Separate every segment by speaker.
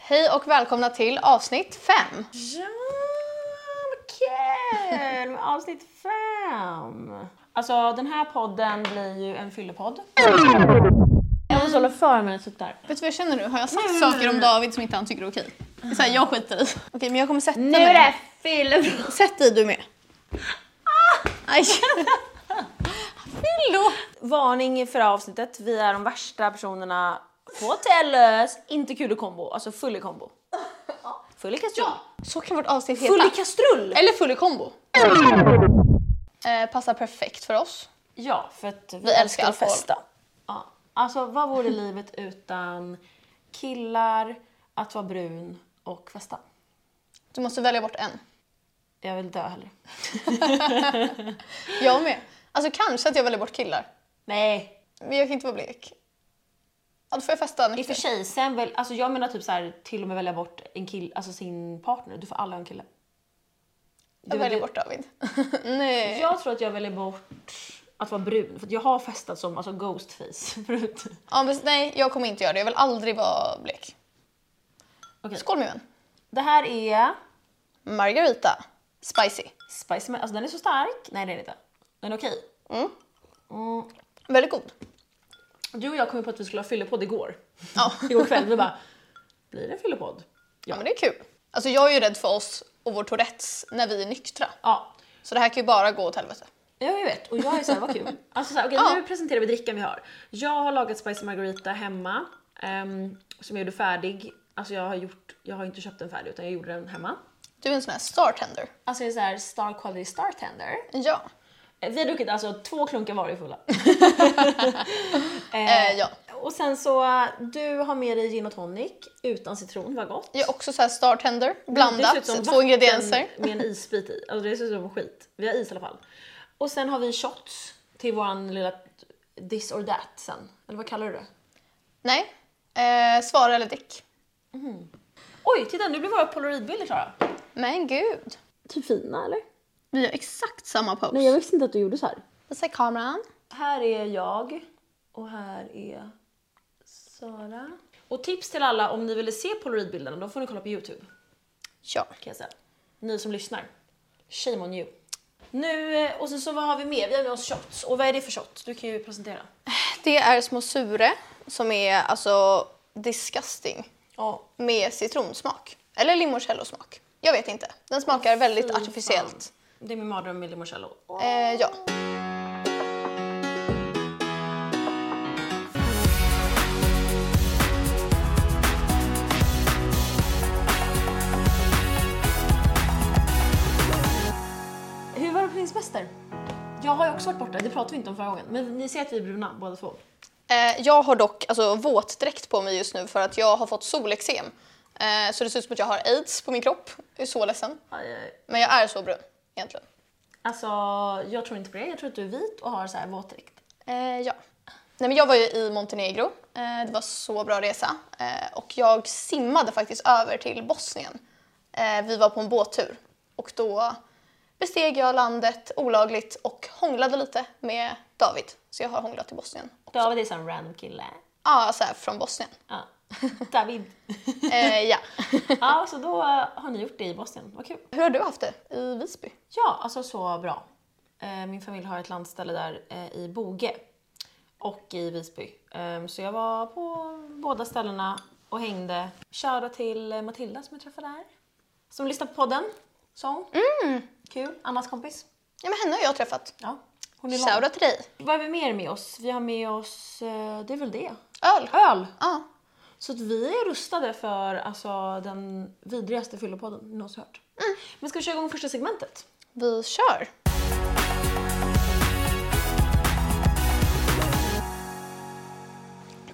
Speaker 1: Hej och välkomna till avsnitt 5.
Speaker 2: Ja, vad kul! Med avsnitt fem! Alltså den här podden blir ju en fyllepodd. Jag måste hålla för mig när jag sitter där.
Speaker 1: Vet du vad jag känner nu? Har jag
Speaker 2: Mm.
Speaker 1: sagt saker om David som inte han tycker är okej? Det är Så här, jag skiter i. Okej, men jag kommer sätta
Speaker 2: Nu är det fyllepodd!
Speaker 1: Sätt dig du med. Aj! Fyllo!
Speaker 2: Varning för avsnittet. Vi är de värsta personerna på Tellus. Inte kul i kombo, alltså full i kombo. Full i kastrull.
Speaker 1: Så kan vårt avsnitt heta.
Speaker 2: Full i kastrull!
Speaker 1: Eller full i kombo. Eh, passar perfekt för oss.
Speaker 2: Ja, för att vi,
Speaker 1: älskar
Speaker 2: älskar att
Speaker 1: alkohol.
Speaker 2: festa. Ja. Alltså vad vore livet utan killar, att vara brun och festa?
Speaker 1: Du måste välja bort en.
Speaker 2: Jag vill dö hellre.
Speaker 1: Jag med. Alltså kanske att jag väljer bort killar.
Speaker 2: Nej,
Speaker 1: Men jag kan inte vara blek. Ja, då får jag festa
Speaker 2: i och
Speaker 1: nykter.
Speaker 2: för sig. Sen väl, alltså jag menar typ så här, till och med välja bort en kill, alltså sin partner. Du får aldrig ha en kille.
Speaker 1: Jag
Speaker 2: Du-
Speaker 1: väljer
Speaker 2: du-
Speaker 1: bort David. Nej.
Speaker 2: Jag tror att jag väljer bort att vara brun. För att jag har festat som alltså ghostface förut.
Speaker 1: Ja, men, nej, jag kommer inte göra det. Jag vill aldrig vara blek.
Speaker 2: Okej.
Speaker 1: Skål min vän.
Speaker 2: Det här är
Speaker 1: Margarita. Spicy.
Speaker 2: spicy, men alltså den är så stark. Nej det är den inte. Den är okej. Mm.
Speaker 1: Väldigt god.
Speaker 2: Du och jag kom ju på att vi skulle ha fyllepodd igår.
Speaker 1: Ja.
Speaker 2: Igår kväll. Vi bara, blir det en fyllepodd?
Speaker 1: ja, men det är kul. Alltså jag är ju rädd för oss och vår Tourettes när vi är nyktra.
Speaker 2: Ja.
Speaker 1: Så det här kan ju bara gå åt helvete.
Speaker 2: Ja, jag vet. Och jag är såhär, vad kul. Alltså såhär, okej
Speaker 1: Ja.
Speaker 2: nu presenterar vi drickan vi har. Jag har lagat spicy margarita hemma. ehm, som jag gjorde färdig. Alltså jag har, gjort, jag har inte köpt den färdig utan jag gjorde den hemma.
Speaker 1: Du är en sån här startender.
Speaker 2: Alltså jag är såhär star quality startender.
Speaker 1: Ja.
Speaker 2: Eh, Vi har druckit alltså två klunkar var i fulla.
Speaker 1: Eh, ja.
Speaker 2: Och sen så, eh, du har med dig gin och tonic utan citron, vad gott.
Speaker 1: Jag är också så här startender.
Speaker 2: Mm,
Speaker 1: Blandat.
Speaker 2: Dessutom
Speaker 1: Två
Speaker 2: vatten
Speaker 1: ingredienser.
Speaker 2: med en isbit i. Alltså det ser ut som skit. Vi har is i alla fall. Och sen har vi shots till våran lilla this or that sen. Eller vad kallar du det?
Speaker 1: Nej. Eh, svara eller dick.
Speaker 2: Oj, titta nu blir våra polaroidbilder klara.
Speaker 1: Men gud.
Speaker 2: Typ fina eller?
Speaker 1: Vi gör exakt samma pose.
Speaker 2: visste inte att du gjorde så här.
Speaker 1: Visa kameran.
Speaker 2: Här är jag och här är Sara. Och tips till alla om ni vill se polaroidbilderna, då får ni kolla på Youtube.
Speaker 1: Ja.
Speaker 2: kan jag säga. Ni som lyssnar. Shame on you. Nu, eh, och sen så vad har vi mer? Vi har med oss shots. Och vad är det för shot? Du kan ju presentera.
Speaker 1: Det är små sure som är alltså disgusting
Speaker 2: Ja.
Speaker 1: med citronsmak. Eller limoncellosmak. Jag vet inte. Den smakar väldigt
Speaker 2: Fy fan.
Speaker 1: artificiellt.
Speaker 2: Det är min mardröm med limoncello. Åh.
Speaker 1: Eh, ja.
Speaker 2: Hur var det på din semester? Jag har ju också varit borta, det pratade vi inte om förra gången. Men ni ser att vi är bruna båda två.
Speaker 1: Eh, jag har dock alltså, våtdräkt på mig just nu för att jag har fått solexem. Eh, så det ser ut som att jag har aids på min kropp. Jag är så ledsen.
Speaker 2: Aj, aj.
Speaker 1: Men jag är så brun egentligen.
Speaker 2: Alltså, jag tror inte på det. Jag tror att du är vit och har så här våtdräkt.
Speaker 1: Eh, ja. Nej, men jag var ju i Montenegro. Eh, det var så bra resa. Eh, och jag simmade faktiskt över till Bosnien. Eh, vi var på en båttur och då besteg jag landet olagligt och hånglade lite med David. Så jag har hånglat till Bosnien. Ja,
Speaker 2: David är så här en random kille.
Speaker 1: ah, så här från Bosnien.
Speaker 2: Ja. David.
Speaker 1: Eh, ja.
Speaker 2: ja, så då eh, har ni gjort det i Bosnien. Vad kul.
Speaker 1: Hur har du haft det i Visby?
Speaker 2: Ja, alltså så bra. Eh, Min familj har ett landställe där eh, i Boge och i Visby. Eh, Så jag var på båda ställena och hängde. Shoutout till eh, Matilda som jag träffade där. Som lyssnar på podden. Sång. Mm. Kul. Annas kompis.
Speaker 1: Ja, men henne har jag träffat.
Speaker 2: Ja. Hon är lång.
Speaker 1: Shoutout till dig.
Speaker 2: Vad har vi mer med oss? Vi har med oss, eh, det är väl det.
Speaker 1: Öl.
Speaker 2: Öl.
Speaker 1: Ja.
Speaker 2: Så att vi är rustade för alltså, den vidrigaste fyllopodden ni någonsin hört. Men ska vi köra igång första segmentet?
Speaker 1: Vi kör.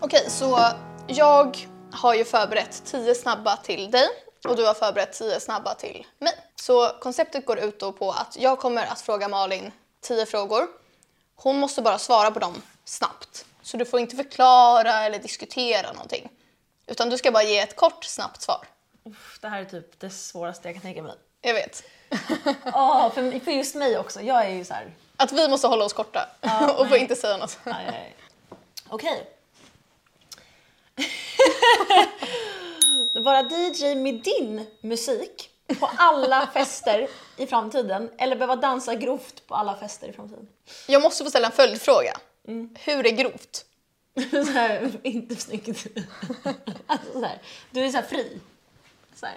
Speaker 1: Okej, så jag har ju förberett 10 snabba till dig och du har förberett 10 snabba till mig. Så konceptet går ut då på att jag kommer att fråga Malin 10 frågor. Hon måste bara svara på dem snabbt. Så du får inte förklara eller diskutera någonting. Utan du ska bara ge ett kort, snabbt svar.
Speaker 2: Uff, det här är typ det svåraste jag kan tänka mig.
Speaker 1: Jag vet.
Speaker 2: Ja, för, för just mig också. Jag är ju så här.
Speaker 1: Att vi måste hålla oss korta och får
Speaker 2: nej.
Speaker 1: inte säga något.
Speaker 2: aj, aj, aj. Okej. vara DJ med din musik på alla fester i framtiden eller behöva dansa grovt på alla fester i framtiden?
Speaker 1: Jag måste få ställa en följdfråga. Hur är grovt?
Speaker 2: så här, inte snyggt. alltså, så här, du är så här fri. Så här.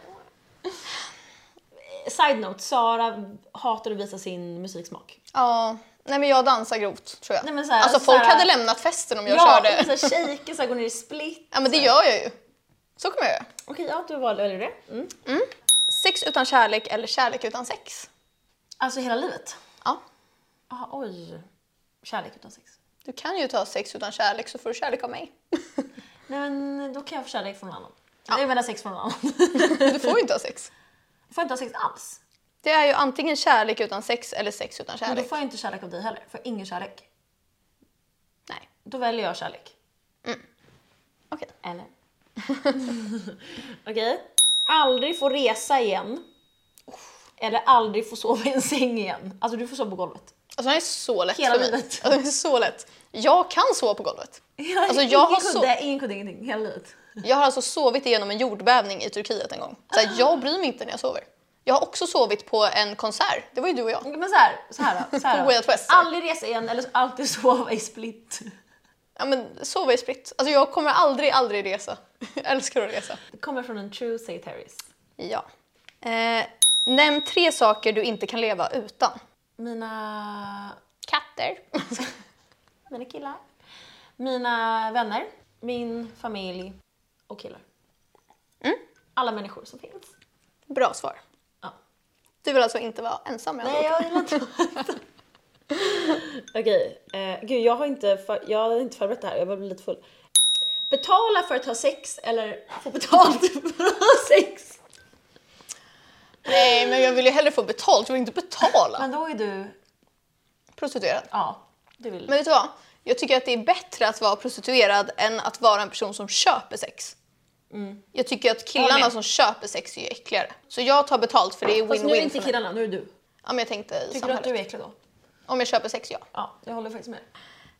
Speaker 2: Side note, Sara hatar att visa sin musiksmak.
Speaker 1: Ja, nej men jag dansar grovt tror jag.
Speaker 2: Nej, men så här-
Speaker 1: alltså
Speaker 2: så
Speaker 1: folk
Speaker 2: här-
Speaker 1: hade lämnat festen om jag
Speaker 2: ja,
Speaker 1: körde.
Speaker 2: men Så här, shaker, så här, går ner i split.
Speaker 1: Ja men det gör jag ju. Så kommer jag göra.
Speaker 2: Okej, ja du valde väljer det. Mm.
Speaker 1: Sex utan kärlek eller kärlek utan sex?
Speaker 2: Alltså hela livet?
Speaker 1: Ja.
Speaker 2: Aha, oj. Kärlek utan sex.
Speaker 1: Du kan ju ta sex utan kärlek så får du kärlek av mig.
Speaker 2: Nej men då kan jag få kärlek från någon annan. Jag menar sex från någon annan.
Speaker 1: Du får ju inte ha sex.
Speaker 2: får jag inte ha sex alls?
Speaker 1: Det är ju antingen kärlek utan sex eller sex utan
Speaker 2: Men då
Speaker 1: kärlek.
Speaker 2: får jag inte kärlek av dig heller. Får jag ingen kärlek?
Speaker 1: Nej.
Speaker 2: Då väljer jag kärlek.
Speaker 1: Okej.
Speaker 2: Eller? Okej. Aldrig få resa igen. Eller aldrig få sova i en säng igen. Alltså du får sova på golvet.
Speaker 1: Alltså den är så lätt
Speaker 2: Hela
Speaker 1: för mig.
Speaker 2: livet.
Speaker 1: Alltså, den är så lätt. Jag kan sova på golvet. Alltså, jag
Speaker 2: ingen
Speaker 1: har
Speaker 2: kudde,
Speaker 1: sov-
Speaker 2: ingen kudde, ingenting. Hela livet.
Speaker 1: Jag har alltså sovit igenom en jordbävning i Turkiet en gång. Så här, jag bryr mig inte när jag sover. Jag har också sovit på en konsert. Det var ju du och jag.
Speaker 2: Men så här, så här då. Så här
Speaker 1: Way out
Speaker 2: då.
Speaker 1: west.
Speaker 2: Aldrig resa igen eller alltid sova i split.
Speaker 1: Ja men sova i spritt. Alltså jag kommer aldrig, aldrig resa. Jag älskar att resa.
Speaker 2: Det kommer från en true satirist.
Speaker 1: Ja. Eh, nämn tre saker du inte kan leva utan.
Speaker 2: Mina,
Speaker 1: Katter.
Speaker 2: mina killar. Mina vänner. Min familj. Och killar. Mm. Alla människor som finns.
Speaker 1: Bra svar.
Speaker 2: Ja.
Speaker 1: Du vill alltså inte vara ensam med andra
Speaker 2: Nej,
Speaker 1: ord.
Speaker 2: jag gillar inte Okej, eh, gud jag har, inte för, jag har inte förberett det här, jag börjar bli lite full. Betala för att ha sex eller få betalt för att ha sex?
Speaker 1: Nej men jag vill ju hellre få betalt, jag vill inte betala.
Speaker 2: Men då är du,
Speaker 1: Prostituerad.
Speaker 2: ja, du vill.
Speaker 1: Men vet du vad? Jag tycker att det är bättre att vara prostituerad än att vara en person som köper sex. Jag tycker att
Speaker 2: Jag
Speaker 1: killarna
Speaker 2: med.
Speaker 1: som köper sex är ju äckligare. Så jag tar betalt för det är
Speaker 2: Fast nu är det
Speaker 1: win-win
Speaker 2: inte
Speaker 1: för mig.
Speaker 2: killarna, nu är det du.
Speaker 1: Ja men jag tänkte i
Speaker 2: Tycker du att
Speaker 1: samhället.
Speaker 2: du är äcklig då?
Speaker 1: Om jag köper sex, ja.
Speaker 2: Ja, jag håller faktiskt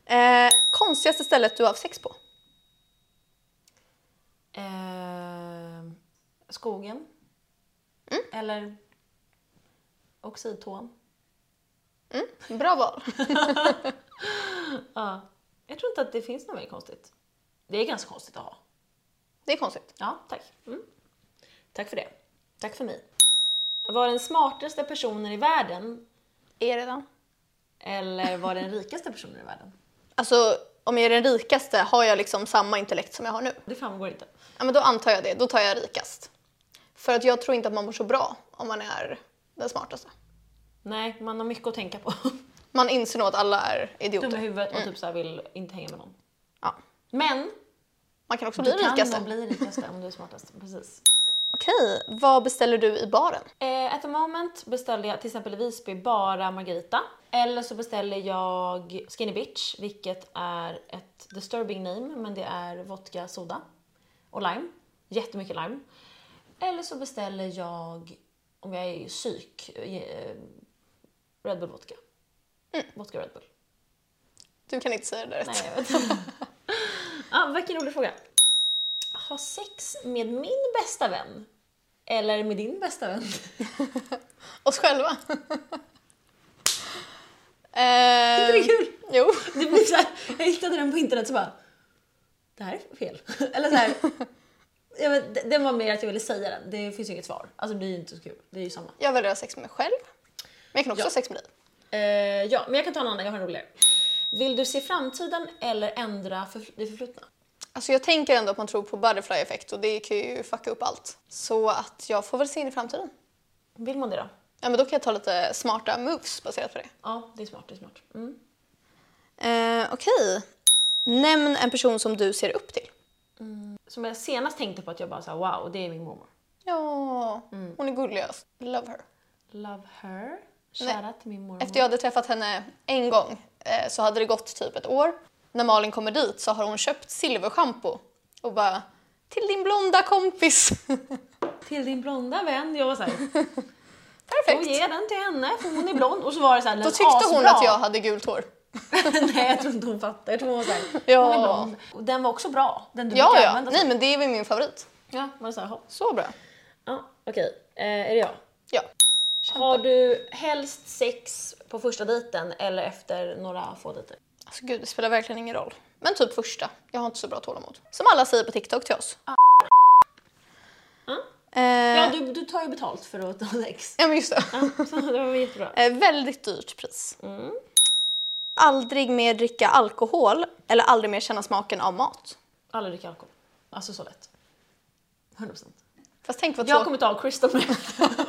Speaker 2: med.
Speaker 1: Eh, konstigaste stället du har haft sex på?
Speaker 2: Eh, skogen.
Speaker 1: Mm.
Speaker 2: Eller oxidtån.
Speaker 1: Bra val.
Speaker 2: Ja. Jag tror inte att det finns något mer konstigt. Det är ganska konstigt att ha.
Speaker 1: Det är konstigt.
Speaker 2: Ja, tack. Mm. Tack för det. Tack för mig. Var den smartaste personen i världen
Speaker 1: Är jag redan?
Speaker 2: eller var den rikaste personen i världen?
Speaker 1: Alltså, om jag är den rikaste, har jag liksom samma intellekt som jag har nu?
Speaker 2: Det framgår inte.
Speaker 1: Ja, men då antar jag det. Då tar jag rikast. För att jag tror inte att man mår så bra om man är den smartaste.
Speaker 2: Nej, man har mycket att tänka på.
Speaker 1: Man inser nog att alla är idioter.
Speaker 2: Dum i huvudet och typ så här vill inte hänga med någon.
Speaker 1: Ja.
Speaker 2: Men
Speaker 1: Man kan också
Speaker 2: du
Speaker 1: bli
Speaker 2: kan
Speaker 1: rikaste.
Speaker 2: nog bli rikaste om du är smartast. Precis.
Speaker 1: Okej, vad beställer du i baren?
Speaker 2: Eh, at the moment beställde jag till exempel i Visby bara Margarita. Eller så beställer jag Skinny Bitch, vilket är ett disturbing name, men det är vodka, soda och lime. Jättemycket lime. Eller så beställer jag, om jag är psyk, eh, Red Bull vodka. Vodka Red Bull.
Speaker 1: Du kan inte säga det där
Speaker 2: Nej,
Speaker 1: rätt.
Speaker 2: jag vet inte. ah, vilken rolig fråga. Ha sex med min bästa vän? Eller med din bästa vän?
Speaker 1: Oss själva.
Speaker 2: Det är
Speaker 1: eh,
Speaker 2: kul!
Speaker 1: jo.
Speaker 2: Det blir så här, jag hittade den på internet så bara, det här är fel. Eller så här, jag vet, det- den var mer att jag ville säga den, det finns ju inget svar. Alltså det är ju inte så kul, det är ju samma.
Speaker 1: Jag väljer att ha sex med mig själv. Men jag kan också
Speaker 2: Ja.
Speaker 1: ha sex med dig.
Speaker 2: Eh, ja, men jag kan ta en annan, jag har en roligare. Vill du se framtiden eller ändra för, det förflutna?
Speaker 1: Alltså jag tänker ändå att man tror på butterfly effekt och det kan ju fucka upp allt. Så att jag får väl se in i framtiden.
Speaker 2: Vill man det då?
Speaker 1: Ja men då kan jag ta lite smarta moves baserat på det.
Speaker 2: Ja, det är smart, det är smart. Mm.
Speaker 1: Eh, Okej. Nämn en person som du ser upp till.
Speaker 2: Som jag senast tänkte på att jag bara sa wow, det är min mormor.
Speaker 1: Ja, hon är gulligast. Love her.
Speaker 2: Love her. Kära till min mormor.
Speaker 1: Efter jag hade träffat henne en gång eh, så hade det gått typ ett år. När Malin kommer dit så har hon köpt silverschampo och bara “till din blonda kompis”.
Speaker 2: Till din blonda vän. Jag var såhär, då
Speaker 1: Perfekt!
Speaker 2: ger jag den till henne för hon är blond. Och så var det såhär,
Speaker 1: Då tyckte hon att jag hade gult hår.
Speaker 2: Nej jag tror inte hon fattar. Jag tror hon var såhär,
Speaker 1: Ja.
Speaker 2: hon är alltså. blond. Och den var också bra. Den du
Speaker 1: Ja,
Speaker 2: brukar
Speaker 1: ja.
Speaker 2: använda.
Speaker 1: Nej men det är väl min favorit.
Speaker 2: Ja, var det så här hopp?
Speaker 1: Så bra.
Speaker 2: Ja, okej. Eh, är det jag?
Speaker 1: Ja.
Speaker 2: Har du helst sex på första dejten eller efter några få dejter?
Speaker 1: Alltså gud, det spelar verkligen ingen roll. Men typ första. Jag har inte så bra tålamod. Som alla säger på TikTok till oss.
Speaker 2: Ja.
Speaker 1: Eh,
Speaker 2: Ah. Ja, du, du tar ju betalt för att ha sex.
Speaker 1: ja, men just det.
Speaker 2: Ja, så det var jättebra.
Speaker 1: Eh, väldigt dyrt pris.
Speaker 2: Mm.
Speaker 1: Aldrig mer dricka alkohol eller aldrig mer känna smaken av mat.
Speaker 2: Aldrig dricka alkohol. Alltså så lätt. 100%.
Speaker 1: Fast tänk vad
Speaker 2: Jag
Speaker 1: tråkigt.
Speaker 2: kommer ta Crystal med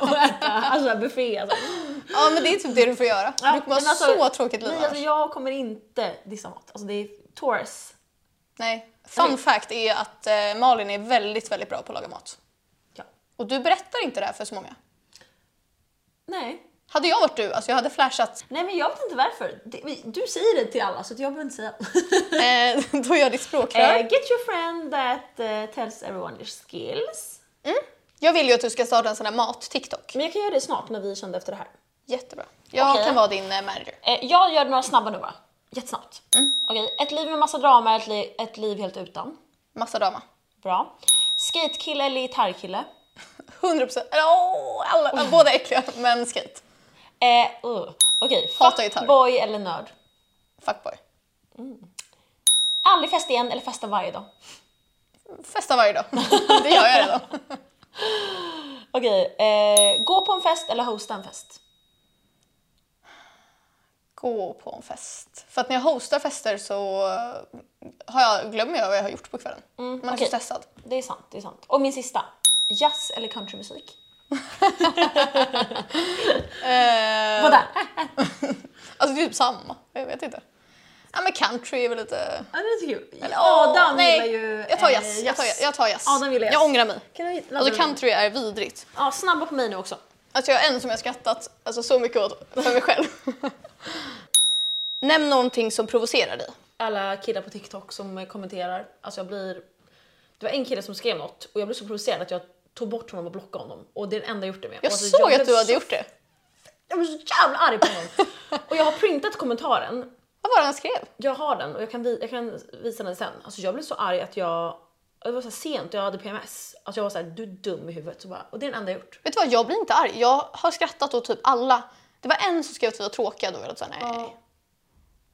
Speaker 2: och äta alltså, buffé. Alltså.
Speaker 1: Ja men det är typ det du får göra.
Speaker 2: Ja,
Speaker 1: du kommer ha
Speaker 2: men alltså-
Speaker 1: så tråkigt liv
Speaker 2: Nej,
Speaker 1: annars.
Speaker 2: alltså, jag kommer inte dissa mat. Alltså, det är Taurus.
Speaker 1: Nej. Fun
Speaker 2: Okej.
Speaker 1: fact är att eh, Malin är väldigt, väldigt bra på att laga mat.
Speaker 2: Ja.
Speaker 1: Och du berättar inte det här för så många.
Speaker 2: Nej.
Speaker 1: Hade jag varit du, alltså jag hade flashat,
Speaker 2: Nej, men jag vet inte varför. Det- vi- Du säger det till alla så att jag behöver inte säga.
Speaker 1: eh, då är jag ditt språkrör.
Speaker 2: Eh, get your friend that eh, tells everyone your skills.
Speaker 1: Mm. Jag vill ju att du ska starta en sån här mat-TikTok.
Speaker 2: Men jag kan göra det snart när vi kände efter det här.
Speaker 1: Jättebra. Jag
Speaker 2: Okej.
Speaker 1: kan vara din eh, manager.
Speaker 2: Eh, jag gör några snabba nu bara. Jättesnabbt. Okej, ett liv med massa drama, ett, li- ett liv helt utan.
Speaker 1: Massa drama.
Speaker 2: Bra. Skatekille eller gitarrkille?
Speaker 1: 100%. Eller, åh, alla, Båda är äckliga, men skit.
Speaker 2: Eh, uh. Okej,
Speaker 1: Hatar gitarr.
Speaker 2: fuckboy eller nörd?
Speaker 1: Fuckboy.
Speaker 2: Aldrig festa igen eller festa varje dag?
Speaker 1: Festa varje dag. det gör jag redan.
Speaker 2: Okej, eh, gå på en fest eller hosta en fest?
Speaker 1: gå på en fest. För att när jag hostar fester så eh, har jag, glömmer jag vad jag har gjort på kvällen. Man är
Speaker 2: Mm, okej.
Speaker 1: så stressad.
Speaker 2: Det är sant, det är sant. Och min sista. Jazz eller countrymusik?
Speaker 1: Eh,
Speaker 2: Vad där?
Speaker 1: alltså det är typ samma. Jag vet inte. Ja men country är väl lite...
Speaker 2: Ja, det är lite kul. Eller,
Speaker 1: Åh, nej. Jag tar jazz. jag tar, jag tar jazz.
Speaker 2: Adam gillar eh, jazz.
Speaker 1: Jag ångrar mig.
Speaker 2: Kan du ladda
Speaker 1: Alltså
Speaker 2: den?
Speaker 1: country är vidrigt.
Speaker 2: Ja, snabba på mig nu också.
Speaker 1: Alltså jag är en som jag har skrattat alltså, så mycket åt för mig själv. Nämn någonting som provocerar dig.
Speaker 2: alla killar på TikTok som kommenterar. Alltså jag blir... Det var en kille som skrev något och jag blev så provocerad att jag tog bort honom och blockade honom. Och det är det enda jag gjort det med.
Speaker 1: Jag
Speaker 2: och alltså,
Speaker 1: såg
Speaker 2: blev
Speaker 1: att du hade
Speaker 2: så,
Speaker 1: gjort det.
Speaker 2: Jag blev så jävla arg på honom. och jag har printat kommentaren.
Speaker 1: Vad var det han skrev?
Speaker 2: Jag har den och jag kan, vi, jag kan visa den sen. Alltså jag blev så arg att jag... Det var så här sent och jag hade PMS. Alltså jag var så här, du är dum i huvudet. Så bara, och det är det enda jag gjort.
Speaker 1: Vet du vad, jag blir inte arg. Jag har skrattat åt typ alla. Det var en som skrev att vi var tråkiga, då var jag så här, nej.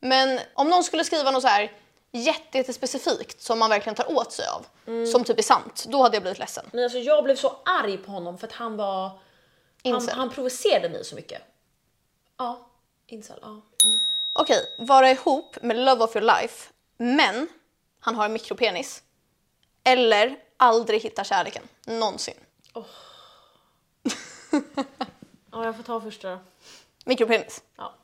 Speaker 1: Men om någon skulle skriva något så här jätte, jättespecifikt som man verkligen tar åt sig av, som typ är sant, då hade jag blivit ledsen.
Speaker 2: Men alltså jag blev så arg på honom för att han var... Han,
Speaker 1: Incel.
Speaker 2: han provocerade mig så mycket. Ja, incel. Ja.
Speaker 1: Okej, vara ihop med love of your life, men han har en mikropenis. Eller aldrig hitta kärleken, någonsin.
Speaker 2: ja, jag får ta första då.
Speaker 1: Mikropenis.
Speaker 2: Ja.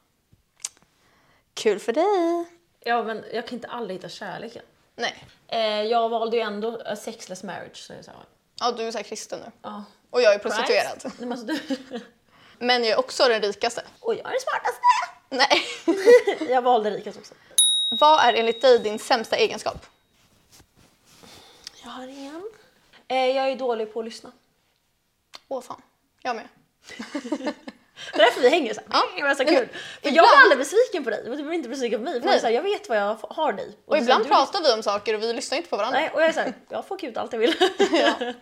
Speaker 1: Kul för dig.
Speaker 2: Ja, men jag kan inte aldrig hitta kärleken.
Speaker 1: Nej.
Speaker 2: Eh, jag valde ju ändå eh, sexless marriage. Så jag sa,
Speaker 1: Ja, du är så här kristen nu.
Speaker 2: ja.
Speaker 1: Och jag är prostituerad.
Speaker 2: Right? Nej, men alltså, du...
Speaker 1: Men jag är också den rikaste.
Speaker 2: Och jag är den smartaste!
Speaker 1: Nej.
Speaker 2: jag valde rikast också.
Speaker 1: Vad är enligt dig din sämsta egenskap?
Speaker 2: Jag har en. Eh, jag är dålig på att lyssna.
Speaker 1: Åh fan, jag med.
Speaker 2: Det är därför vi hänger så här.
Speaker 1: Ja.
Speaker 2: Det var så
Speaker 1: Nej, men
Speaker 2: kul. För jag
Speaker 1: ibland-
Speaker 2: var aldrig besviken på dig. Du blev inte besviken på mig. För jag,
Speaker 1: Nej.
Speaker 2: var så här, jag vet vad jag f- har dig.
Speaker 1: Och
Speaker 2: du-
Speaker 1: ibland
Speaker 2: du-
Speaker 1: pratar vi om saker och vi lyssnar inte på varandra.
Speaker 2: Nej, och jag är såhär, jag får ut allt jag vill.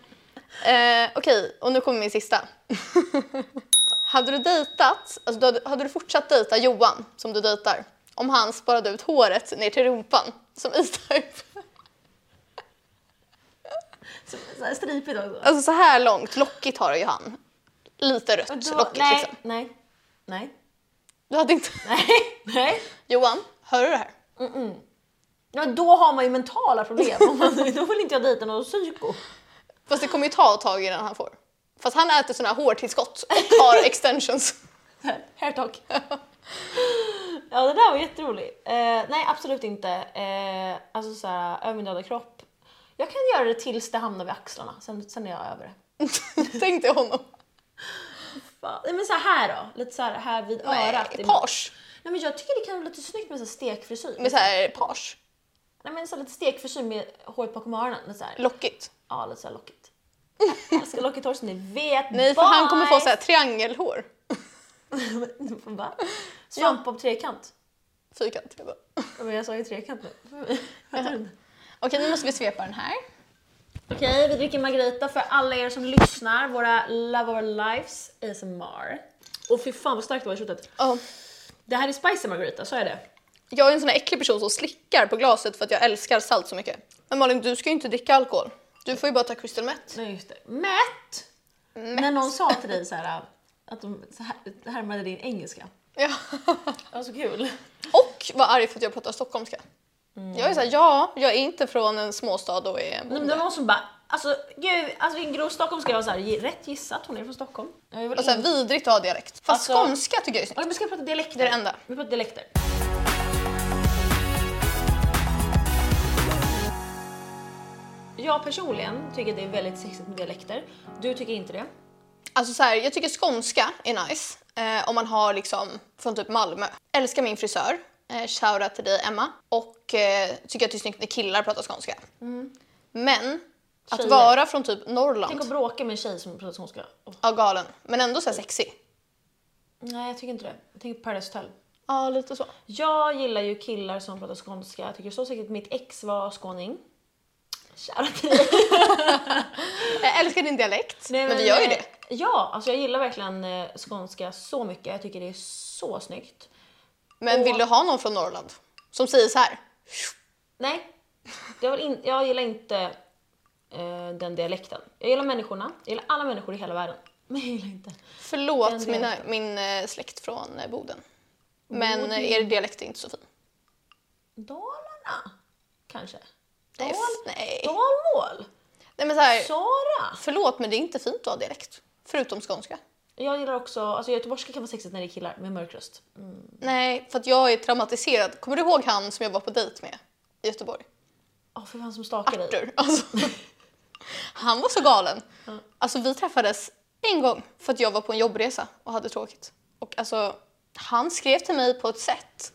Speaker 1: Eh, Okej, och nu kommer min sista. hade du dejtat, alltså du hade, hade du fortsatt dejta Johan som du dejtar om han sparade ut håret ner till rumpan som E-Type?
Speaker 2: Så- så här Stripigt också.
Speaker 1: Alltså så här långt, lockigt har ju han. Lite rött,
Speaker 2: Alltså, Då-
Speaker 1: lockigt
Speaker 2: nej,
Speaker 1: liksom.
Speaker 2: nej, nej,
Speaker 1: Du hade inte...
Speaker 2: nej, nej.
Speaker 1: Johan, hör du det här?
Speaker 2: Ja, men då har man ju mentala problem. Om man- då vill inte jag dejta någon psyko.
Speaker 1: Fast det kommer ju ta ett tag innan han får. Fast han äter såna här hårtillskott och har extensions.
Speaker 2: Hair talk. ja, det där var jätteroligt. Eh, nej, absolut inte. Eh, alltså så här, övermjölkad kropp. Jag kan göra det tills det hamnar vid axlarna, sen, sen är jag över det.
Speaker 1: Tänk dig honom.
Speaker 2: Fan. Nej, men så här då, lite så här, här vid örat.
Speaker 1: Nej, page.
Speaker 2: Nej, men jag tycker det kan vara lite snyggt med så här stekfrisyr.
Speaker 1: Med så här page.
Speaker 2: Nej, men så här, lite stekfrisyr med håret bakom öronen. Lite så här.
Speaker 1: Lockigt.
Speaker 2: Ja, lite så här lockigt. Jag älskar lockigt hår som ni vet.
Speaker 1: Nej, för han kommer få
Speaker 2: Bye!
Speaker 1: så här triangelhår.
Speaker 2: Va? Svamp av trekant.
Speaker 1: Fyrkant. jag bara.
Speaker 2: Ja, Men jag sa ju trekant nu.
Speaker 1: Okej, nu måste vi svepa den här.
Speaker 2: Okej, vi dricker Margarita för alla er som lyssnar. Våra Love Our Lives ASMR. Och fy fan vad starkt det var i slutet.
Speaker 1: Ja.
Speaker 2: Det här är spicy Margarita, så är det.
Speaker 1: Jag är en sån här äcklig person som slickar på glaset för att jag älskar salt så mycket. Men Malin, du ska ju inte dricka alkohol. Du får ju bara ta Crystal Met.
Speaker 2: Nej just det. Mätt! När någon sa till dig så här att de så här, härmade din engelska.
Speaker 1: Ja.
Speaker 2: Det var så kul.
Speaker 1: Och var arg för att jag pratar stockholmska. Jag är såhär, ja, jag är inte från en småstad och är
Speaker 2: Mm. Nej, men det var någon som bara, alltså gud, alltså en grov stockholmska var så här, "Ge- rätt gissat, hon är från Stockholm. Jag vill
Speaker 1: och så här, vidrigt att ha dialekt. Fast
Speaker 2: Alltså-
Speaker 1: skånska tycker jag är snyggt.
Speaker 2: Okej, men ska vi prata dialekter?
Speaker 1: Det är det enda.
Speaker 2: Vi pratar dialekter. Jag personligen tycker att det är väldigt sexigt med dialekter. Du tycker inte det.
Speaker 1: Alltså så här, jag tycker skånska är nice. Eh, om man har liksom från typ Malmö. Älskar min frisör. Eh, shoutout till dig Emma. Och eh, tycker att det är snyggt när killar pratar skånska. Men att
Speaker 2: Mm. Tjejer.
Speaker 1: vara från typ
Speaker 2: Tänk att
Speaker 1: Norrland,
Speaker 2: bråka med en tjej som pratar skånska. Åh,
Speaker 1: ja galen. Men ändå såhär sexig.
Speaker 2: Nej, jag tycker inte det. Jag tänker på Paradise Hotel.
Speaker 1: Ja, lite så.
Speaker 2: Jag gillar ju killar som pratar skånska. Jag tycker så säkert att mitt ex var skåning. Kära till dig.
Speaker 1: Jag älskar din dialekt,
Speaker 2: Nej,
Speaker 1: men, vi gör ju
Speaker 2: eh,
Speaker 1: det.
Speaker 2: Ja, alltså jag gillar verkligen eh, skånska så mycket. Jag tycker det är så snyggt.
Speaker 1: Men
Speaker 2: och-
Speaker 1: vill du ha någon från Norrland som säger så här?
Speaker 2: Nej, jag, vill in, jag gillar inte eh, den dialekten. Jag gillar människorna. Jag gillar alla människor i hela världen. Men jag gillar inte. Den
Speaker 1: Förlåt mina,
Speaker 2: dialekten.
Speaker 1: min eh, släkt från eh, Boden. Men eh, er dialekt är inte så fin.
Speaker 2: Dalarna? Kanske?
Speaker 1: Nej,
Speaker 2: Dal,
Speaker 1: f- nej.
Speaker 2: Dalmål?
Speaker 1: nej men så här,
Speaker 2: Sara?
Speaker 1: Förlåt men det är inte fint att ha dialekt. Förutom skånska.
Speaker 2: Jag gillar också, alltså göteborgska kan vara sexigt när det är killar med mörk röst. Mm.
Speaker 1: Nej, för att jag är traumatiserad. Kommer du ihåg han som jag var på dejt med i Göteborg?
Speaker 2: Åh, för fan som stakar dig.
Speaker 1: Arthur. Alltså, han var så galen. Alltså vi träffades en gång för att jag var på en jobbresa och hade tråkigt. Och alltså, han skrev till mig på ett sätt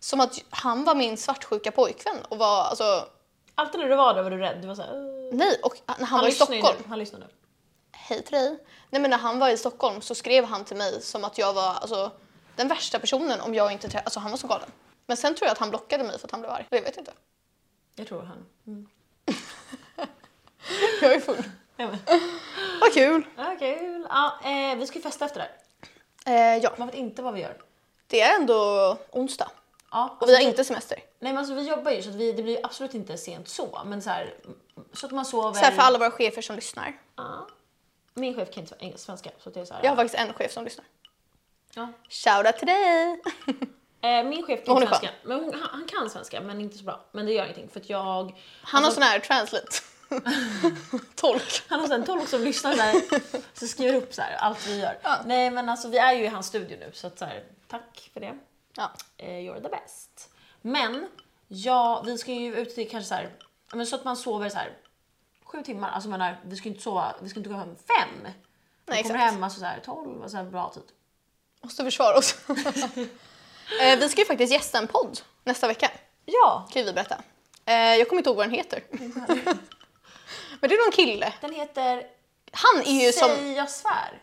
Speaker 1: som att han var min svartsjuka pojkvän och var alltså,
Speaker 2: Alltid när du var där var du rädd. Du var såhär... eh.
Speaker 1: nej, och när han, var i
Speaker 2: lyssnar ju
Speaker 1: Stockholm.
Speaker 2: Nu. Han lyssnar nu.
Speaker 1: hej till dig. Nej men när han var i Stockholm så skrev han till mig som att jag var alltså, den värsta personen om jag inte träffade... Alltså han var så galen. Men sen tror jag att han blockade mig för att han blev arg. Jag vet inte.
Speaker 2: Jag tror han. Mm.
Speaker 1: Jag är full.
Speaker 2: Ja, men.
Speaker 1: Vad kul!
Speaker 2: Ja, kul. Ja, eh, vi ska ju festa efter det här.
Speaker 1: Eh, ja,
Speaker 2: Man vet inte vad vi gör.
Speaker 1: det är ändå onsdag
Speaker 2: Ja,
Speaker 1: och vi har inte semester.
Speaker 2: Nej men alltså vi jobbar ju så att vi, det blir ju absolut inte sent så. Men så här, så att man sover.
Speaker 1: Så här för alla våra chefer som lyssnar.
Speaker 2: Ja. Min chef kan inte sv- engelska, svenska så att det är så här.
Speaker 1: Jag har faktiskt en chef som lyssnar.
Speaker 2: ja.
Speaker 1: Shoutout till dig!
Speaker 2: Eh, min chef kan
Speaker 1: Hon är
Speaker 2: inte svenska. Men hon, han, han kan svenska men inte så bra. Men det gör ingenting för att jag... alltså,
Speaker 1: Han har sån här translate. Tolk.
Speaker 2: Han har en tolk som lyssnar där så skriver upp så här, allt vi gör.
Speaker 1: Ja.
Speaker 2: Nej men alltså vi är ju i hans studio nu så att så här, tack för det.
Speaker 1: Ja.
Speaker 2: Eh, you're the best. Men ja, vi ska ju ut till kanske så här, ja, men så att man sover så här sju timmar. Alltså man är, vi ska ju inte sova, vi ska inte gå hem fem.
Speaker 1: Nej,
Speaker 2: vi kommer
Speaker 1: exakt.
Speaker 2: hem alltså så här tolv, och så här bra typ. tid.
Speaker 1: Måste försvara oss. eh, vi ska ju faktiskt gästa en podd nästa vecka.
Speaker 2: Ja,
Speaker 1: kan ju vi berätta. Eh, jag kommer inte ihåg vad den heter. Men det är någon kille.
Speaker 2: den heter
Speaker 1: Han är ju som... Mm.
Speaker 2: Säg jag svär.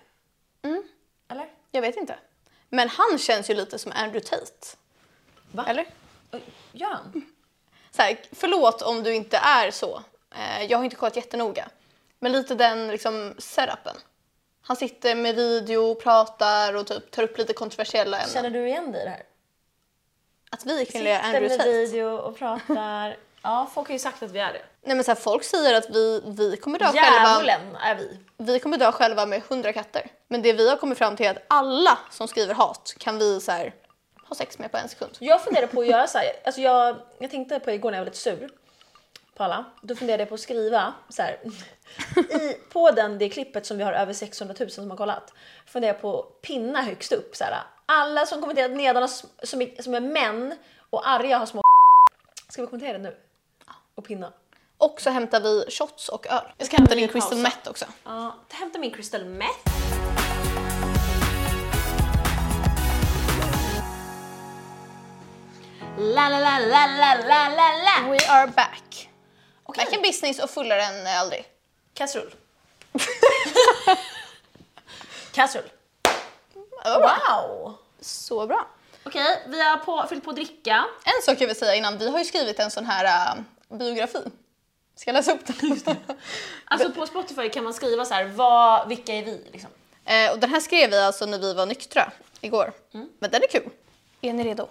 Speaker 2: Eller?
Speaker 1: Jag vet inte. Men han känns ju lite som Andrew Tate.
Speaker 2: Va?
Speaker 1: Eller?
Speaker 2: Oj, Gör han?
Speaker 1: Så här, förlåt om du inte är så. Eh, jag har inte kollat jättenoga. Men lite den liksom setupen. Han sitter med video, pratar och typ tar upp lite kontroversiella ämnen.
Speaker 2: Känner du igen dig i det här?
Speaker 1: Att vi är kvinnliga Andrew
Speaker 2: med
Speaker 1: Tate.
Speaker 2: video och pratar. ja, folk har ju sagt att vi är det.
Speaker 1: Nej men så här, folk säger att vi, vi kommer dö själva.
Speaker 2: Djävulen är vi.
Speaker 1: vi kommer dö själva med hundra katter. Men det vi har kommit fram till är att alla som skriver hat kan vi så här, ha sex med på en sekund.
Speaker 2: Jag funderar på att göra så här. Alltså jag, jag tänkte på igår när jag var lite sur på alla. Då funderade jag på att skriva så här. I, på den, det klippet som vi har över 600 000 som har kollat. Funderar jag på att pinna högst upp. Så här, alla som kommenterat nedan har sm- som, är- som är män och arga har små Ska vi kommentera det nu? Och pinna.
Speaker 1: Och så hämtar vi shots och öl. Jag ska hämta din crystal meth också.
Speaker 2: Ja, hämta min crystal meth. La la la la la la la la.
Speaker 1: We are back.
Speaker 2: Okej.
Speaker 1: Back in business och fullare än eh, aldrig.
Speaker 2: Kastrull. Kastrull.
Speaker 1: Det var bra.
Speaker 2: Wow!
Speaker 1: Så bra.
Speaker 2: Okej, vi har på, fyllt på dricka.
Speaker 1: En sak jag vill säga innan, vi har ju skrivit en sån här eh, biografi. Ska jag läsa upp den?
Speaker 2: Alltså på Spotify kan man skriva så här, vad, vilka är vi? Liksom.
Speaker 1: Eh, och den här skrev vi alltså när vi var nyktra igår. Men den är kul. Är ni redo?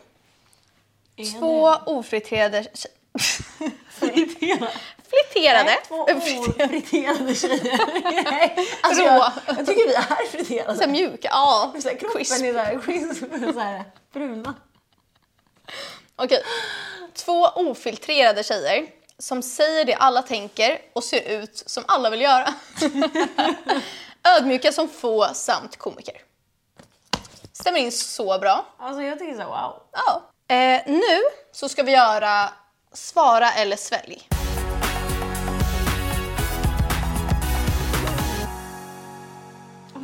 Speaker 1: Två ofriterade...
Speaker 2: friterade.
Speaker 1: Flirterade.
Speaker 2: Två ofriterade tjejer. alltså,
Speaker 1: Rå.
Speaker 2: jag, jag tycker vi är friterade.
Speaker 1: Så här mjuka. Ja.
Speaker 2: Så här, kroppen
Speaker 1: Crisp.
Speaker 2: är så här, crisp, så här bruna.
Speaker 1: Okej. Två ofiltrerade tjejer som säger det alla tänker och ser ut som alla vill göra. Ödmjuka som få samt komiker. Stämmer in så bra.
Speaker 2: Alltså jag tycker så här, wow.
Speaker 1: Ja. Eh, nu så ska vi göra svara eller svälj.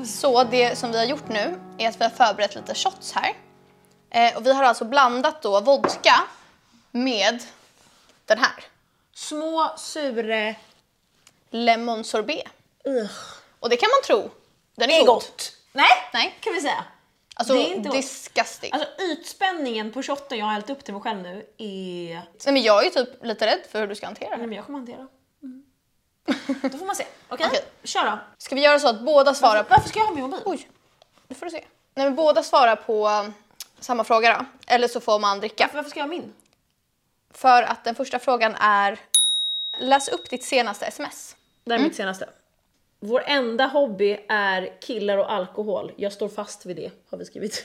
Speaker 1: Så det som vi har gjort nu är att vi har förberett lite shots här. Eh, och vi har alltså blandat då vodka med den här.
Speaker 2: Små, sure...
Speaker 1: Lemon sorbet.
Speaker 2: Ugh.
Speaker 1: Och det kan man tro. Den
Speaker 2: Det
Speaker 1: är,
Speaker 2: är
Speaker 1: god.
Speaker 2: gott. Nej,
Speaker 1: Nej.
Speaker 2: kan vi säga.
Speaker 1: Alltså
Speaker 2: Det är inte gott.
Speaker 1: disgusting.
Speaker 2: Alltså ytspänningen på shotten jag har hällt upp till mig själv nu är...
Speaker 1: Nej, men jag är ju typ lite rädd för hur du ska hantera
Speaker 2: Nej
Speaker 1: det.
Speaker 2: men jag kommer hantera. Mm. Då får man se. Okej,
Speaker 1: Okej.
Speaker 2: kör då.
Speaker 1: Ska vi göra så att båda svarar
Speaker 2: Varför, varför ska jag ha min mobil?
Speaker 1: Oj, nu får du se. Nej, men båda svarar på um, samma fråga då. Eller så får man dricka.
Speaker 2: Varför, varför ska jag ha min?
Speaker 1: För att den första frågan är... Läs upp ditt senaste sms.
Speaker 2: Det här är mitt senaste. Vår enda hobby är killar och alkohol. Jag står fast vid det, har vi skrivit.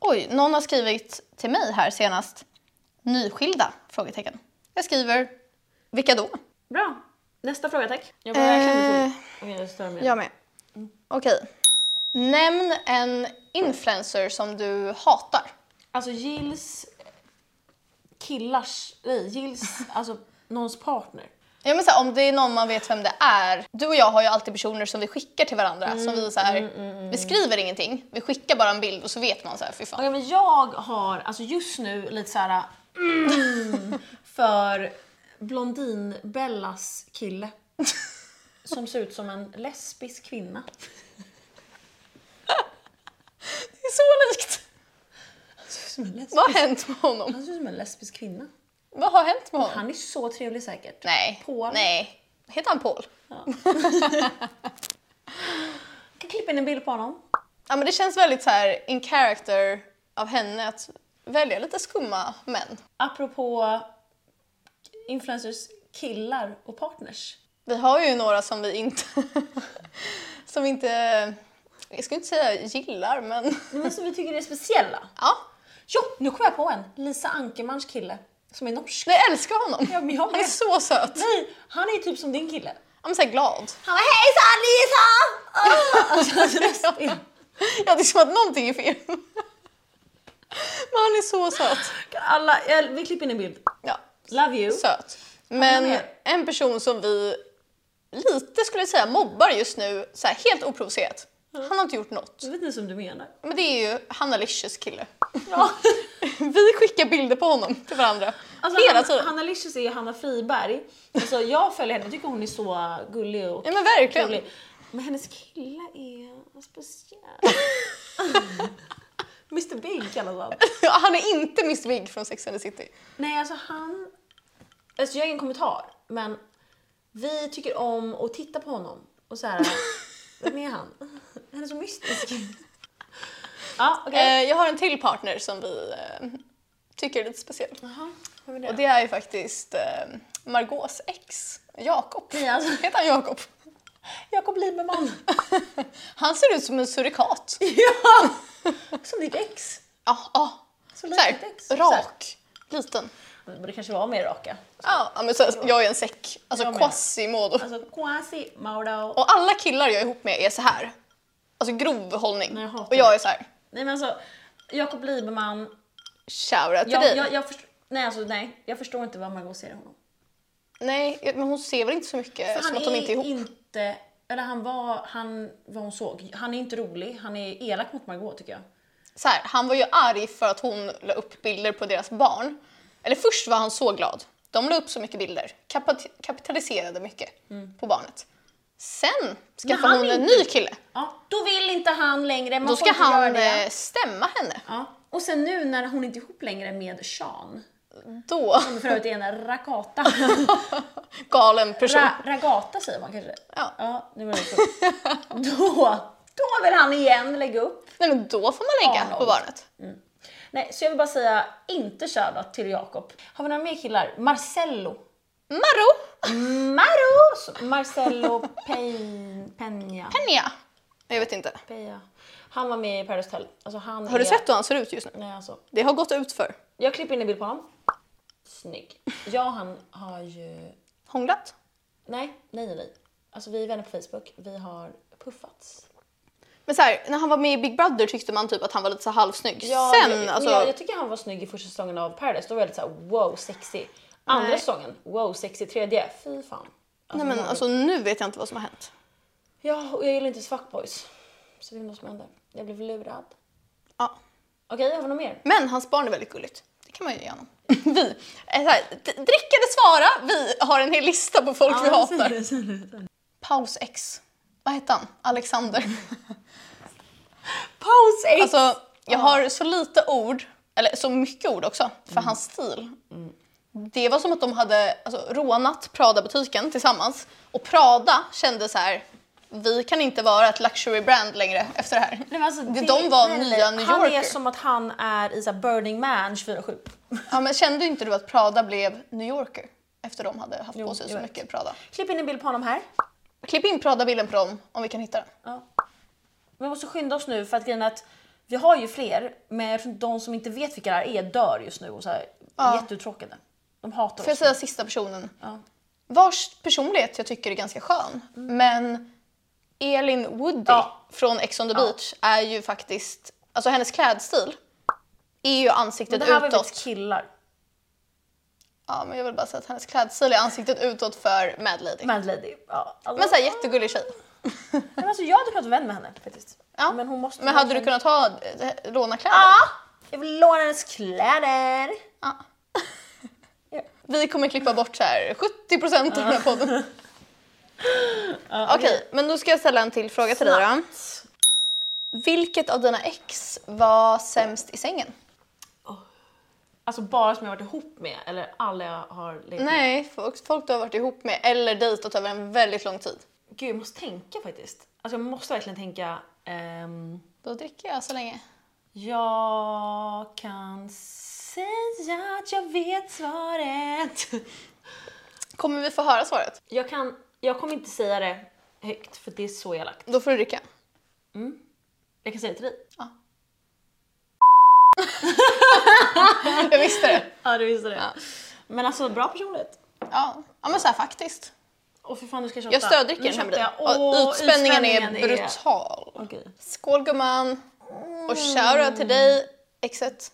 Speaker 1: Oj, någon har skrivit till mig här senast. Nyskilda? Frågetecken. Jag skriver... Vilka då?
Speaker 2: Bra. Nästa fråga tack. Jag var verkligen
Speaker 1: Eh.
Speaker 2: full. Okej, jag stör mig.
Speaker 1: Jag med. Okej. Nämn en influencer som du hatar.
Speaker 2: Alltså Jills killars, nej Jills, alltså någons partner.
Speaker 1: Ja, men så här, om det är någon man vet vem det är. Du och jag har ju alltid personer som vi skickar till varandra. som vi, så här, vi skriver ingenting, vi skickar bara en bild och så vet man så här, fy fan.
Speaker 2: Okej men jag har alltså just nu lite så här mm, för Blondin-Bellas kille. Som ser ut som en lesbisk kvinna.
Speaker 1: Det är så likt!
Speaker 2: Han ser ut som en lesbisk,
Speaker 1: Vad har hänt med honom?
Speaker 2: han ser ut som en lesbisk kvinna.
Speaker 1: Vad har hänt med honom?
Speaker 2: Han är så trevlig säkert.
Speaker 1: Nej.
Speaker 2: Paul.
Speaker 1: Nej. Heter han Paul?
Speaker 2: Jag kan klippa in en bild på honom.
Speaker 1: Ja, men det känns väldigt så här in character av henne att välja lite skumma män.
Speaker 2: Apropå influencers killar och partners.
Speaker 1: Vi har ju några som vi inte... som vi inte... Jag skulle inte säga gillar, men...
Speaker 2: Men som vi tycker är speciella.
Speaker 1: Ja.
Speaker 2: Jo, nu kom jag på en! Lisa Ankermans kille, som är norsk.
Speaker 1: Nej, jag älskar honom.
Speaker 2: Ja, men jag
Speaker 1: Han är
Speaker 2: med.
Speaker 1: så söt.
Speaker 2: Nej, han är typ som din kille.
Speaker 1: Han är så här glad.
Speaker 2: Han var hejsan Lisa! Ah! Alltså, hans röst är-
Speaker 1: Ja, det är som att någonting är fel. Men han är så söt.
Speaker 2: Kan Alla, jag- vi klipper in en bild.
Speaker 1: Ja,
Speaker 2: Love you.
Speaker 1: söt.
Speaker 2: Ja,
Speaker 1: Men
Speaker 2: men-
Speaker 1: en person som vi lite skulle jag säga mobbar just nu, så här, helt oprovocerat. Han har inte gjort något.
Speaker 2: Jag vet inte som du menar.
Speaker 1: Men det är ju Hanna Licious kille.
Speaker 2: Ja.
Speaker 1: Vi skickar bilder på honom till varandra.
Speaker 2: Alltså,
Speaker 1: Hela
Speaker 2: Hanna-
Speaker 1: tiden.
Speaker 2: Hanna Licious är Hanna Friberg. Alltså, jag följer henne, jag tycker hon är så gullig och
Speaker 1: Ja men verkligen.
Speaker 2: trevlig. Men hennes kille är speciell. Mr Big kallas han.
Speaker 1: Han är inte Miss Big från Sex and the City.
Speaker 2: Nej, alltså han... Alltså jag har ingen kommentar, men vi tycker om att titta på honom och så här... Vem är han? Han är så mystisk. Ja, okej.
Speaker 1: Eh, Jag har en till partner som vi eh, tycker är lite speciell.
Speaker 2: Jaha, vad var
Speaker 1: Och
Speaker 2: det?
Speaker 1: det är ju faktiskt eh, Margaux ex, Jakob.
Speaker 2: Nej, alltså.
Speaker 1: Heter han Jakob?
Speaker 2: Jakob Liberman.
Speaker 1: Han ser ut som en surikat.
Speaker 2: ja! Som ditt ex.
Speaker 1: Ja, ja.
Speaker 2: Så
Speaker 1: Så här,
Speaker 2: litet ex.
Speaker 1: rak, liten.
Speaker 2: Det borde kanske vara mer raka.
Speaker 1: Ja, ja, men så här, jag är en säck. Alltså
Speaker 2: Jag med.
Speaker 1: quasimodo.
Speaker 2: Alltså quasi Mauro.
Speaker 1: Och alla killar jag är ihop med är så här. Alltså grov hållning.
Speaker 2: Nej, jag hatar
Speaker 1: och jag
Speaker 2: det.
Speaker 1: är så här.
Speaker 2: Nej men alltså, Jakob Liberman.
Speaker 1: Shoutout till
Speaker 2: Jag,
Speaker 1: dig.
Speaker 2: jag, jag, förstår, nej, alltså, nej, jag förstår inte vad Margot ser i honom.
Speaker 1: Nej, men hon ser väl inte så mycket som att de inte är ihop.
Speaker 2: inte- eller han var, han, vad hon såg, han är inte rolig, han är elak mot Margot tycker jag.
Speaker 1: Så här, han var ju arg för att hon la upp bilder på deras barn. Eller först var han så glad. De la upp så mycket bilder. Kapat- kapitaliserade mycket på barnet. Sen
Speaker 2: Mm. Men
Speaker 1: skaffade
Speaker 2: han
Speaker 1: hon
Speaker 2: är
Speaker 1: en
Speaker 2: inte-
Speaker 1: ny kille.
Speaker 2: Ja, då vill inte han längre, man
Speaker 1: Då ska
Speaker 2: får inte göra
Speaker 1: han
Speaker 2: det.
Speaker 1: eh, stämma henne.
Speaker 2: Ja. Och sen nu när hon inte är ihop längre med Sean,
Speaker 1: då?
Speaker 2: Som för övrigt är en rakata.
Speaker 1: Galen person.
Speaker 2: Ra- ragata säger man kanske?
Speaker 1: Ja.
Speaker 2: ja nu var det så. då, då vill han igen lägga upp.
Speaker 1: Nej men då får man lägga
Speaker 2: Arnold.
Speaker 1: på barnet.
Speaker 2: Nej, så jag vill bara säga inte shoutout till Jakob. Har vi några mer killar? Marcello.
Speaker 1: Maro!
Speaker 2: Maros! Marcello Pein- Peña.
Speaker 1: Penja. Jag vet inte.
Speaker 2: Peña. Han var med i Paradise Hotel. Alltså han
Speaker 1: Har du
Speaker 2: är...
Speaker 1: sett hur han ser ut just nu?
Speaker 2: Nej, alltså.
Speaker 1: Det har gått ut för.
Speaker 2: Jag klipper in en bild på honom. Snygg. Jag och han har ju...
Speaker 1: Hånglat?
Speaker 2: Nej, nej, nej. Alltså vi är vänner på Facebook. Vi har puffats.
Speaker 1: Men så här, när han var med i Big Brother tyckte man typ att han var lite så halvsnygg.
Speaker 2: Ja,
Speaker 1: Sen,
Speaker 2: men jag,
Speaker 1: alltså,
Speaker 2: men jag, jag tycker han var snygg i första säsongen av Paradise. Då var jag lite såhär wow sexy. Andra
Speaker 1: Nej.
Speaker 2: säsongen, wow sexy. Tredje, fy fan. Alltså,
Speaker 1: nej men
Speaker 2: man-
Speaker 1: alltså nu vet jag inte vad som har hänt.
Speaker 2: Ja, och jag gillar inte fuckboys. Så det är något som händer. Jag blev lurad.
Speaker 1: Ja.
Speaker 2: Okej, har vi något mer?
Speaker 1: Men hans barn är väldigt gulligt. Det kan man ju ge honom. Vi, eh, så här, d- drick eller svara, vi har en hel lista på folk vi hatar. Paus X. Vad hette han? Alexander.
Speaker 2: Paus X!
Speaker 1: Alltså, jag har så lite ord, eller så mycket ord också, för
Speaker 2: Mm.
Speaker 1: hans stil. Det var som att de hade alltså, rånat Prada-butiken tillsammans och Prada kände så här, vi kan inte vara ett luxury brand längre efter det här.
Speaker 2: Nej, men alltså,
Speaker 1: De-
Speaker 2: det-
Speaker 1: de var
Speaker 2: nej, nej, nej.
Speaker 1: nya New
Speaker 2: Han är
Speaker 1: Yorker.
Speaker 2: som att han är i så här Burning Man 24-7.
Speaker 1: Ja, men kände inte du att Prada blev New Yorker efter de hade haft
Speaker 2: Jo,
Speaker 1: på sig
Speaker 2: jag
Speaker 1: så
Speaker 2: vet.
Speaker 1: mycket Prada?
Speaker 2: Klipp in en bild på honom här.
Speaker 1: Klipp in Prada-bilden på dem om vi kan hitta den.
Speaker 2: Ja. Vi måste skynda oss nu för att grejen är att vi har ju fler men jag tror att de som inte vet vilka det här är dör just nu och så här,
Speaker 1: Ja.
Speaker 2: är jätteuttråkade. De hatar
Speaker 1: Får jag
Speaker 2: oss.
Speaker 1: säga sista personen?
Speaker 2: Ja. Mm.
Speaker 1: Vars personlighet jag tycker är ganska skön. Men Elin Woody
Speaker 2: Ja.
Speaker 1: från Ex on the beach är ju faktiskt, alltså hennes klädstil är ju
Speaker 2: Men
Speaker 1: ansiktet
Speaker 2: det här var ju
Speaker 1: utåt.
Speaker 2: faktiskt killar.
Speaker 1: Ja, men jag vill bara säga att hennes klädstil är ansiktet utåt för Mad Lady.
Speaker 2: Mad Lady. Ja. Alltså,
Speaker 1: Men såhär jättegullig tjej.
Speaker 2: Nej, men alltså, jag hade kunnat vara vän med henne faktiskt.
Speaker 1: Ja.
Speaker 2: Men hon måste
Speaker 1: Men
Speaker 2: vara
Speaker 1: hade du
Speaker 2: vän.
Speaker 1: kunnat ha, eh, låna kläder?
Speaker 2: Ja! Jag vill låna hennes kläder.
Speaker 1: Ja.
Speaker 2: Ja.
Speaker 1: Vi kommer klippa bort så här 70 procent av den här podden. Okej, men då ska jag ställa en till fråga till dig då. Vilket av dina ex var sämst i sängen?
Speaker 2: Alltså bara som jag varit ihop med eller alla jag har legat med.
Speaker 1: Nej, folk, folk du har varit ihop med eller dejtat över en väldigt lång tid.
Speaker 2: Gud jag måste tänka faktiskt. Alltså jag måste verkligen tänka. ehm,
Speaker 1: Då dricker jag så länge.
Speaker 2: Jag kan säga att jag vet svaret.
Speaker 1: Kommer vi få höra svaret?
Speaker 2: Jag, kan, jag kommer inte säga det högt för det är så elakt.
Speaker 1: Då får du dricka.
Speaker 2: Jag kan säga det till dig.
Speaker 1: Jag visste det.
Speaker 2: Ja, du visste det. Men alltså bra personlighet.
Speaker 1: Ja, ja men så här faktiskt.
Speaker 2: Åh för fan du ska shotta.
Speaker 1: Jag stöddricker
Speaker 2: Nu
Speaker 1: den här
Speaker 2: shottar
Speaker 1: blir.
Speaker 2: jag. Åh,
Speaker 1: Utspänningen är brutal.
Speaker 2: Okej.
Speaker 1: Skål gumman! Och shoutout till dig, exet.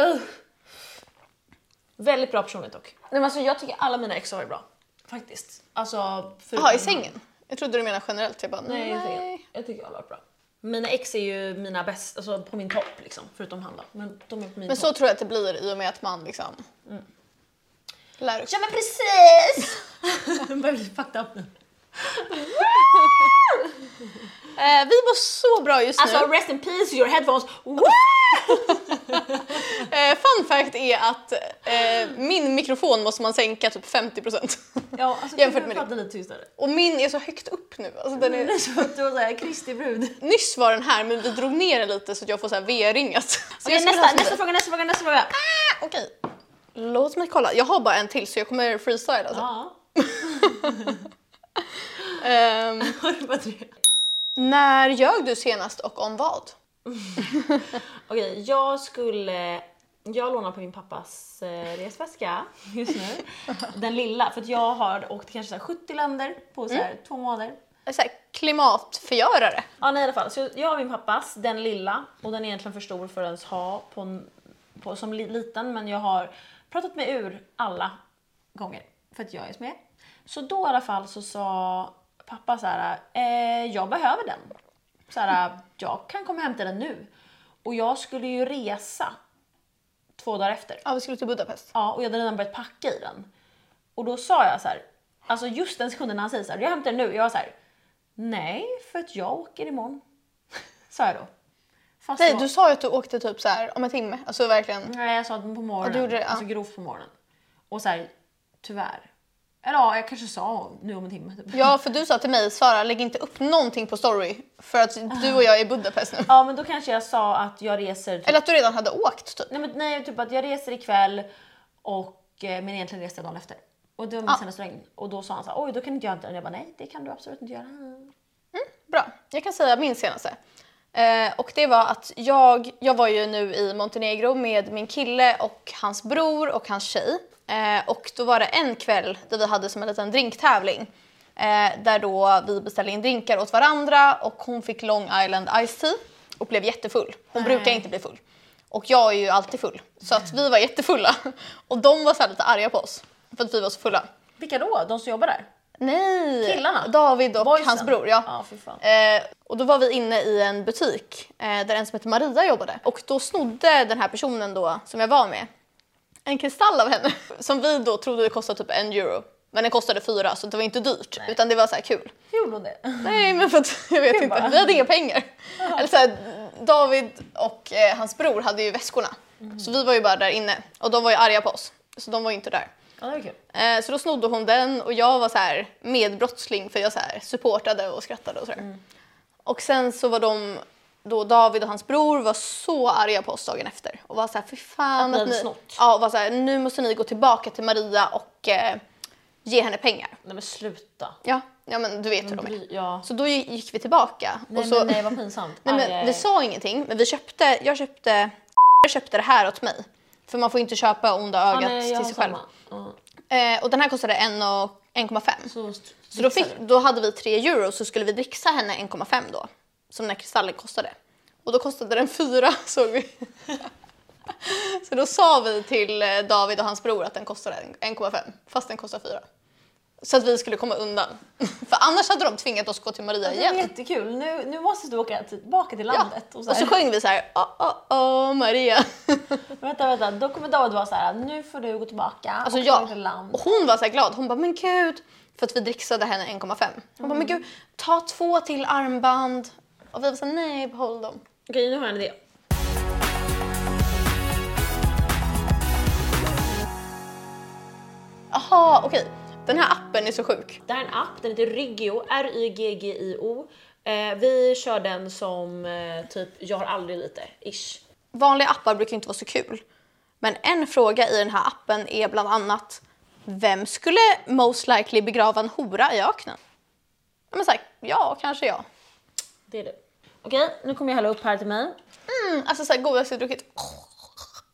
Speaker 2: Ugh. Väldigt bra personlighet dock. Nej, men alltså, jag tycker alla mina ex har varit bra. Faktiskt. Alltså,
Speaker 1: Jaha, i
Speaker 2: förutom-
Speaker 1: sängen? Jag trodde du menade generellt. Jag bara,
Speaker 2: Nej,
Speaker 1: nej.
Speaker 2: jag tycker, jag tycker alla har varit bra. Mina ex är ju mina bästa, alltså på min topp liksom. Förutom han då. Men de är på min
Speaker 1: Men
Speaker 2: topp.
Speaker 1: så tror jag att det blir i och med att man liksom lär upp.
Speaker 2: Ja men precis! Jag börjar bli fucked up nu.
Speaker 1: Eh, vi mår så bra just
Speaker 2: Alltså
Speaker 1: nu.
Speaker 2: rest in peace your headphones. Woo!
Speaker 1: Eh, fun fact är att eh, min mikrofon måste man sänka typ 50%.
Speaker 2: Ja, alltså,
Speaker 1: Jämfört
Speaker 2: kan
Speaker 1: med
Speaker 2: du prata lite tystare? Mm.
Speaker 1: Och min är så högt upp nu. Alltså, den är...
Speaker 2: Så att du var såhär Kristi brud.
Speaker 1: Nyss var den här men vi drog ner den lite så att jag får så här V-ringat. Så jag
Speaker 2: Okej,
Speaker 1: skulle
Speaker 2: nästa,
Speaker 1: ha-
Speaker 2: nästa fråga, nästa fråga, nästa fråga.
Speaker 1: Ah, Okej. Låt mig kolla. Jag har bara en till så jag kommer freestyla. Alltså.
Speaker 2: Ja,
Speaker 1: Ehm,
Speaker 2: var det bara tre?
Speaker 1: när ljög du senast och om vad?
Speaker 2: Okej, jag skulle... Jag lånar på min pappas eh, resväska just nu. Den lilla, för att jag har åkt kanske så här 70 länder på så här två månader.
Speaker 1: Så här, klimatförgörare.
Speaker 2: Ja, nej, i alla fall. Så jag har min pappas, den lilla, och den är egentligen för stor för att ens ha på, en- på, som li, liten, men jag har pratat mig ur alla gånger för att jag är smed. Så då i alla fall så sa pappa så här, eh, jag behöver den. Så här, jag kan komma och hämta den nu. Och jag skulle ju resa två dagar efter.
Speaker 1: Ja, vi skulle till Budapest.
Speaker 2: Ja, och jag hade redan börjat packa i den. Och då sa jag så här, alltså just den sekunden när han säger så här, jag hämtar den nu. Jag var så här, nej, för att jag åker imorgon. sa jag då. Fast
Speaker 1: Nej,
Speaker 2: jag-
Speaker 1: du sa ju att du åkte typ så här om en timme. Alltså verkligen.
Speaker 2: Nej, jag sa den på morgonen.
Speaker 1: Ja, du gjorde det, ja.
Speaker 2: Alltså grovt på morgonen. Och så här, tyvärr. Eller ja, jag kanske sa nu om en timme. Typ.
Speaker 1: Ja, för du sa till mig Sara, lägg inte upp någonting på story för att du och jag är i Budapest nu.
Speaker 2: Ja, men då kanske jag sa att jag reser... Typ,
Speaker 1: Eller att du redan hade åkt typ.
Speaker 2: nej, men, nej, typ att jag reser ikväll och... eh, Men egentligen reste jag dagen efter. Och det var min senaste regn. Och då sa han så här, oj då kan inte jag inte den. Jag bara, nej det kan du absolut inte göra.
Speaker 1: Bra. Jag kan säga min senaste. Eh, och det var att jag, jag var ju nu i Montenegro med min kille och hans bror och hans tjej. Eh, och då var det en kväll där vi hade som en liten drinktävling. Eh, där då vi beställde in drinkar åt varandra och hon fick Long Island Ice Tea och blev jättefull. Hon brukar inte bli full. Och jag är ju alltid full. Så att vi var jättefulla. Och de var så här lite arga på oss för att vi var så fulla.
Speaker 2: Vilka då? De som jobbar där?
Speaker 1: Nej!
Speaker 2: Killarna?
Speaker 1: David och
Speaker 2: Boysen?
Speaker 1: hans bror. Ja.
Speaker 2: Ja, fy fan.
Speaker 1: Eh, och då var vi inne i en butik eh, där en som heter Maria jobbade. Och då snodde den här personen då, som jag var med, en kristall av henne. Som vi då trodde kostade typ en euro. Men den kostade fyra så det var inte dyrt utan det var så här kul.
Speaker 2: Hur gjorde hon det?
Speaker 1: Nej men för att jag vet inte,
Speaker 2: bara.
Speaker 1: vi hade inga pengar. Eller så här, David och eh, hans bror hade ju väskorna. Så vi var ju bara där inne och de var ju arga på oss. Så de var ju inte där.
Speaker 2: Ja, det var kul.
Speaker 1: Eh, Så då snodde hon den och jag var så här medbrottsling för jag så här supportade och skrattade och sådär.
Speaker 2: Mm.
Speaker 1: Och sen så var de, då David och hans bror var så arga på oss dagen efter och var så här fy fan
Speaker 2: Att ni hade snott."
Speaker 1: Ja, och var så här, nu måste ni gå tillbaka till Maria och eh, ge henne pengar.
Speaker 2: Nej men sluta.
Speaker 1: Ja, ja men du vet hur de är.
Speaker 2: Bry, ja.
Speaker 1: Så då gi- gick vi tillbaka.
Speaker 2: Mm. Nej,
Speaker 1: och så,
Speaker 2: men, nej vad pinsamt.
Speaker 1: Nej,
Speaker 2: Aj, aj,
Speaker 1: men vi
Speaker 2: aj.
Speaker 1: sa ingenting, men vi köpte, jag köpte, jag köpte det här åt mig. För man får inte köpa onda
Speaker 2: Ja,
Speaker 1: ögat
Speaker 2: nej, jag
Speaker 1: till
Speaker 2: har
Speaker 1: sig själv.
Speaker 2: samma. Ja.
Speaker 1: Eh, och den här kostade en och 1,5.
Speaker 2: Så,
Speaker 1: Så då, fick, då hade vi 3 euro så skulle vi dricksa henne 1,5 då. Som när kristallen kostade. Och då kostade den 4 såg vi. så då sa vi till eh, David och hans bror att den kostade en- 1,5 fast den kostade 4. Så att vi skulle komma undan. För annars hade de tvingat oss gå till Maria
Speaker 2: Alltså, Det är
Speaker 1: igen.
Speaker 2: jättekul. Nu, nu måste du åka tillbaka till
Speaker 1: Ja.
Speaker 2: landet. Och så
Speaker 1: Och
Speaker 2: här,
Speaker 1: så sjöng vi så här, oh, oh, oh, Maria.
Speaker 2: Vänta, vänta. Då kommer David vara så här. nu får du gå tillbaka
Speaker 1: Alltså
Speaker 2: och
Speaker 1: jag,
Speaker 2: till land.
Speaker 1: och hon var så här glad. Hon bara, men gud. För att vi dricksade henne 1,5. Hon bara, men
Speaker 2: Mm.
Speaker 1: gud, ta två till armband. Och vi var så här, nej, behåll dem.
Speaker 2: Okej, nu har jag en idé.
Speaker 1: Aha, okej. Den här appen är så sjuk.
Speaker 2: Det här är en app, den heter Ryggio, R-Y-G-G-I-O. Eh, vi kör den som eh, typ jag har aldrig lite, ish.
Speaker 1: Vanliga appar brukar inte vara så kul. Men en fråga i den här appen är bland annat vem skulle most likely begrava en hora i öknen? Ja, Men så här, ja, kanske jag.
Speaker 2: Det är du. Okej, nu kommer jag hälla upp här till mig.
Speaker 1: Mm, alltså så här, godaste jag druckit.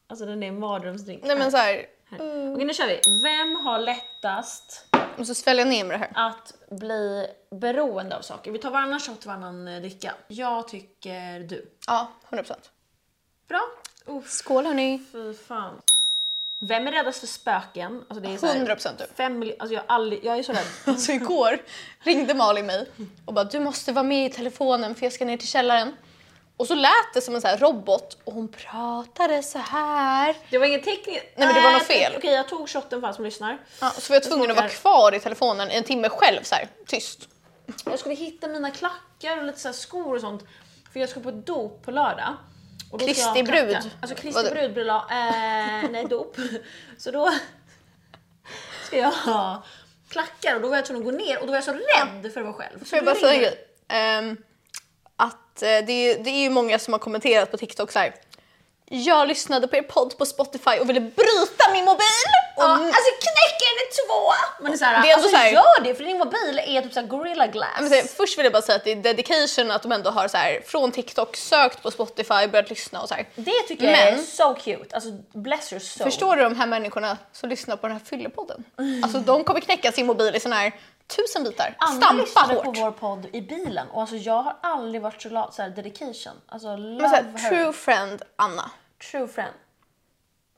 Speaker 2: Alltså den är en mardrömsdrink.
Speaker 1: Nej men så här, Mm.
Speaker 2: Okej, nu kör vi. Vem har lättast
Speaker 1: jag måste svälja ner med det här.
Speaker 2: att bli beroende av saker? Vi tar varannan shot, varannan eh, dricka. Jag tycker du.
Speaker 1: Ja, 100%.
Speaker 2: Bra. Uff,
Speaker 1: Skål hörni.
Speaker 2: fy fan. Vem är räddast för spöken? Alltså det är så här-
Speaker 1: 100% du.
Speaker 2: Fem miljoner, alltså jag, har aldrig, jag är så rädd.
Speaker 1: typ. Alltså igår ringde Malin mig och bara du måste vara med i telefonen för jag ska ner till källaren. Och så lät det som en så här robot och hon pratade så här.
Speaker 2: Det var inget tekniskt.
Speaker 1: Nej, men det var något fel.
Speaker 2: Okej jag tog shotten för alla som lyssnar.
Speaker 1: Ja, så var jag tvungen att vara kvar i telefonen en timme själv så här, tyst.
Speaker 2: Jag skulle hitta mina klackar och lite så här skor och sånt. För jag ska på ett dop på lördag. Och då ska jag ha
Speaker 1: Kristi brud.
Speaker 2: klackar. Alltså Kristi
Speaker 1: Vadå?
Speaker 2: brud bröllop, eh, nej dop. Så då ska jag ha klackar och då var jag tvungen att gå ner och då var jag så rädd för att vara själv.
Speaker 1: Får jag bara säga en grej? Ehm, att eh, det är, ju- det är ju många som har kommenterat på TikTok så här. Jag lyssnade på er podd på Spotify och ville bryta min mobil! Och
Speaker 2: Ja, alltså knäck en i två! Men det är såhär,
Speaker 1: Det är ändå
Speaker 2: alltså
Speaker 1: så här-
Speaker 2: gör det för din mobil är typ såhär gorilla glass.
Speaker 1: Men så här, först vill jag bara säga att det är dedication att de ändå har så här, från TikTok sökt på Spotify, börjat lyssna och så här.
Speaker 2: det tycker jag är
Speaker 1: Men-
Speaker 2: so cute, alltså bless your soul.
Speaker 1: Förstår du de här människorna som lyssnar på den här fyllepodden? Alltså de kommer knäcka sin mobil i såna här tusen bitar.
Speaker 2: Anna
Speaker 1: Stampa
Speaker 2: lyssnade
Speaker 1: hårt.
Speaker 2: på vår podd i bilen och alltså jag har aldrig varit så glad. Så här, dedication. Alltså love
Speaker 1: Men så
Speaker 2: her.
Speaker 1: här, true friend Anna.
Speaker 2: true friend.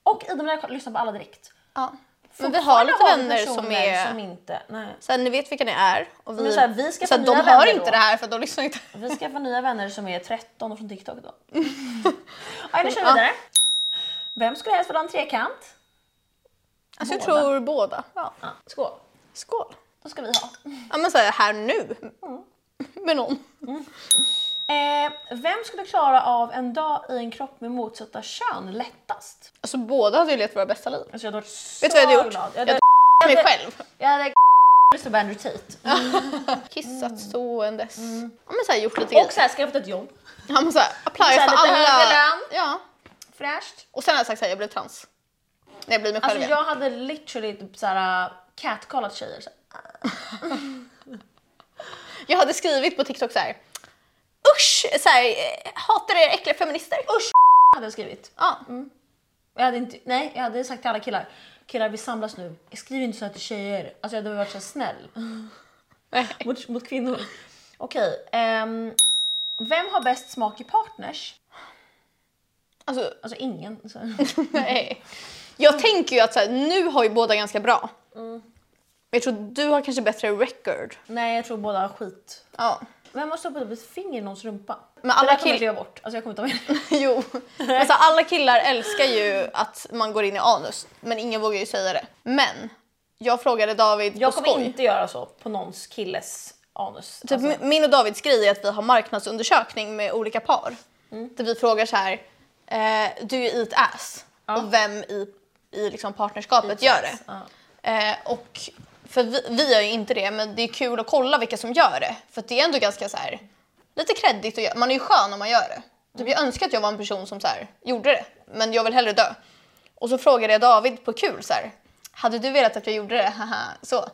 Speaker 2: Och Ida och Maria lyssnar på alla direkt.
Speaker 1: Ja. Men vi har lite
Speaker 2: Fortfarande
Speaker 1: vänner
Speaker 2: personer
Speaker 1: som är...
Speaker 2: Som inte, nej.
Speaker 1: Så här, ni vet vilka ni är. Och vi,
Speaker 2: Men så här, vi ska
Speaker 1: så här,
Speaker 2: få
Speaker 1: de
Speaker 2: nya
Speaker 1: hör
Speaker 2: vänner
Speaker 1: inte
Speaker 2: då.
Speaker 1: det här för att de lyssnar inte.
Speaker 2: Vi ska få nya vänner som är 13 och från TikTok då. ja, nu kör vi
Speaker 1: Ja.
Speaker 2: vidare. Vem skulle helst vilja ha en trekant?
Speaker 1: Alltså jag
Speaker 2: Båda.
Speaker 1: tror båda. Ja.
Speaker 2: Ja, skål. Mm.
Speaker 1: Skål.
Speaker 2: Då ska vi ha.
Speaker 1: Ja men så här, här nu. Med någon.
Speaker 2: Eh, vem skulle klara av en dag i en kropp med motsatta kön lättast?
Speaker 1: Alltså båda hade ju levt våra bästa liv.
Speaker 2: Alltså jag hade varit så
Speaker 1: Vet du vad jag hade gjort?
Speaker 2: glad. Jag
Speaker 1: Jag
Speaker 2: hade,
Speaker 1: hade
Speaker 2: Alltså-
Speaker 1: mig själv.
Speaker 2: jag hade Christopher Andrew Tate.
Speaker 1: Kissat ståendes. Ja men såhär gjort lite
Speaker 2: Mm.
Speaker 1: grejer.
Speaker 2: Och så här skaffat ett jobb.
Speaker 1: Ja men såhär applyat för
Speaker 2: lite
Speaker 1: alla.
Speaker 2: högre lön.
Speaker 1: Ja.
Speaker 2: Fräscht.
Speaker 1: Och sen hade jag sagt såhär, jag blev trans. När jag blir mig själv
Speaker 2: Alltså
Speaker 1: igen.
Speaker 2: jag hade literally typ så här catcallat tjejer. Så här.
Speaker 1: Jag hade skrivit på TikTok så här. Usch! Så här, eh, hatar er äckliga feminister. Usch!
Speaker 2: hade jag skrivit.
Speaker 1: Ja.
Speaker 2: Mm. Jag hade inte, nej, jag hade sagt till alla killar. Killar vi samlas nu. Skriv inte så här till tjejer. Alltså jag hade varit så här snäll.
Speaker 1: Nej.
Speaker 2: mot, mot kvinnor. Okej. ehm, vem har bäst smak i partners?
Speaker 1: Alltså,
Speaker 2: Alltså ingen. Så.
Speaker 1: nej. Jag tänker ju att så här, nu har ju båda ganska bra. Men jag tror du har kanske bättre record.
Speaker 2: Nej, jag tror båda har skit.
Speaker 1: Ja.
Speaker 2: Vem har stoppat upp ett finger i någons rumpa?
Speaker 1: Men alla
Speaker 2: det där kommer
Speaker 1: kill-
Speaker 2: inte jag bort. Alltså jag kommer inte ihåg det.
Speaker 1: Jo. Men så här, alla killar älskar ju att man går in i anus, men ingen vågar ju säga det. Men jag frågade David
Speaker 2: Jag
Speaker 1: på
Speaker 2: kommer
Speaker 1: skoj.
Speaker 2: inte göra så på någons killes anus.
Speaker 1: Typ
Speaker 2: alltså,
Speaker 1: min och Davids grej är att vi har marknadsundersökning med olika par. Där vi frågar så här, eh, do you eat ass? Och vem i, i liksom partnerskapet gör det?
Speaker 2: ja.
Speaker 1: Eh, och för vi, vi gör ju inte det, men det är kul att kolla vilka som gör det. För att det är ändå ganska så här, lite kreddigt att göra. Man är ju skön om man gör det. Typ, jag önskar att jag var en person som så här, gjorde det, men jag vill hellre dö. Och så frågade jag David på kul så här, hade du velat att jag gjorde det? Haha, så.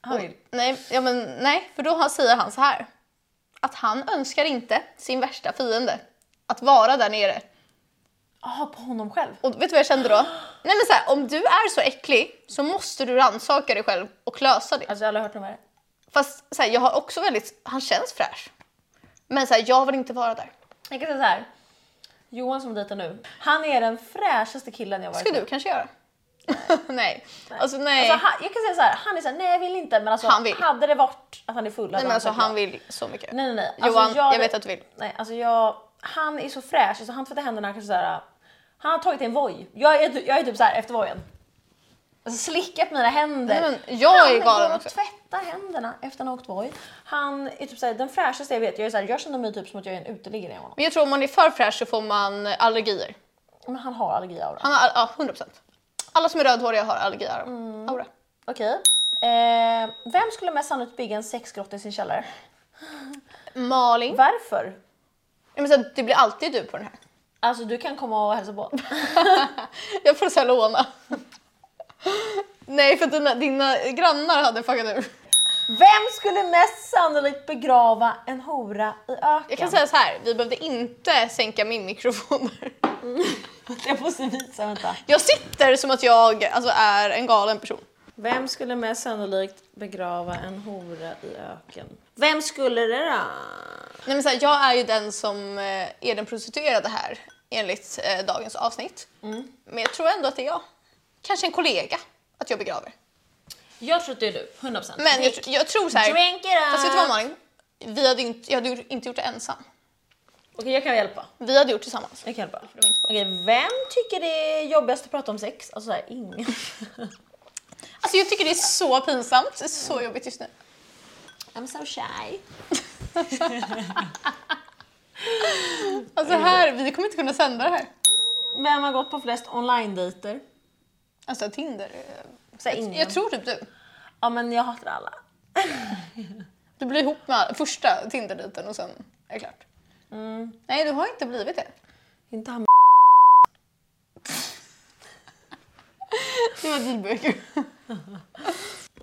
Speaker 2: Han vill.
Speaker 1: Nej, ja, men, nej, för då har- säger han så här. Att han önskar inte sin värsta fiende att vara där nere.
Speaker 2: Jaha, på honom själv.
Speaker 1: Och vet du vad jag kände då? Nej men så här, om du är så äcklig så måste du rannsaka dig själv och lösa det.
Speaker 2: Alltså jag har aldrig hört om det här.
Speaker 1: Fast så här, jag har också väldigt, han känns fräsch. Men så här, jag vill inte vara där.
Speaker 2: Jag kan säga så här. Johan som dejtar nu, han är den fräschaste killen jag varit
Speaker 1: Ska
Speaker 2: med.
Speaker 1: du kanske göra? nej. Alltså nej.
Speaker 2: Alltså, han, jag kan säga så här, han är såhär, nej jag vill inte. Men alltså,
Speaker 1: Han vill.
Speaker 2: hade det varit att han är full hade
Speaker 1: nej men alltså
Speaker 2: sagt ja.
Speaker 1: han vill så mycket.
Speaker 2: Nej, Alltså, nej, nej.
Speaker 1: Johan, jag vet att du vill.
Speaker 2: Nej, alltså jag... Han är så fräsch. Alltså han tvättar händerna kanske såhär... Han har tagit en voj. Jag är, jag är typ såhär efter vojen. Alltså slickat mina händer.
Speaker 1: Nej, men jag är
Speaker 2: han
Speaker 1: galen
Speaker 2: går och
Speaker 1: också.
Speaker 2: tvättar händerna efter han har åkt voj. Han är typ såhär, den fräschaste jag vet. Jag, är såhär, jag känner mig typ som att jag är en uteliggare i honom.
Speaker 1: Men jag tror om man är för fräsch så får man allergier.
Speaker 2: Men han har allergiaura.
Speaker 1: Han har, ja 100%. Alla som är rödhåriga har allergier. Aura.
Speaker 2: Okej. Eh, vem skulle mest sannolikt bygga en sexgrott i sin källare?
Speaker 1: Malin.
Speaker 2: Varför?
Speaker 1: Ja, Men så här, det blir alltid du på den här.
Speaker 2: Alltså du kan komma och hälsa på.
Speaker 1: Jag får så här låna. Nej, för dina, dina grannar hade fuckat ur.
Speaker 2: Vem skulle mest sannolikt begrava en hora i öken?
Speaker 1: Jag kan säga så här, vi behövde inte sänka min mikrofon.
Speaker 2: Jag måste visa, vänta.
Speaker 1: Jag sitter som att jag alltså, är en galen person.
Speaker 2: Vem skulle mest sannolikt begrava en hora i öken? Vem skulle det då?
Speaker 1: Nej, men så här, jag är ju den som eh, är den prostituerade här enligt eh, dagens avsnitt. Men jag tror ändå att det är jag. Kanske en kollega att jag begraver.
Speaker 2: Jag tror att det är du, 100%.
Speaker 1: Men jag, tr- jag tror så här,
Speaker 2: Drink it up!
Speaker 1: fast vet du vad Malin? Vi hade inte, jag hade ju inte gjort det ensam.
Speaker 2: Okej, jag kan hjälpa.
Speaker 1: Vi hade gjort det tillsammans.
Speaker 2: Jag kan hjälpa. Okej, vem tycker det är jobbigast att prata om sex? Alltså såhär, ingen.
Speaker 1: Alltså jag tycker det är så pinsamt, det är så jobbigt just nu.
Speaker 2: I'm so shy.
Speaker 1: Alltså här, vi kommer inte kunna sända det här.
Speaker 2: Vem har gått på flest online-dejter?
Speaker 1: Alltså Tinder. eh,
Speaker 2: Såhär, ingen.
Speaker 1: Jag tror typ du.
Speaker 2: Ja, men jag hatar alla.
Speaker 1: Du blir ihop med första Tinder-dejten och sen är det klart.
Speaker 2: Mm.
Speaker 1: Nej, du har inte blivit det.
Speaker 2: Inte han
Speaker 1: Det var dealbreaker.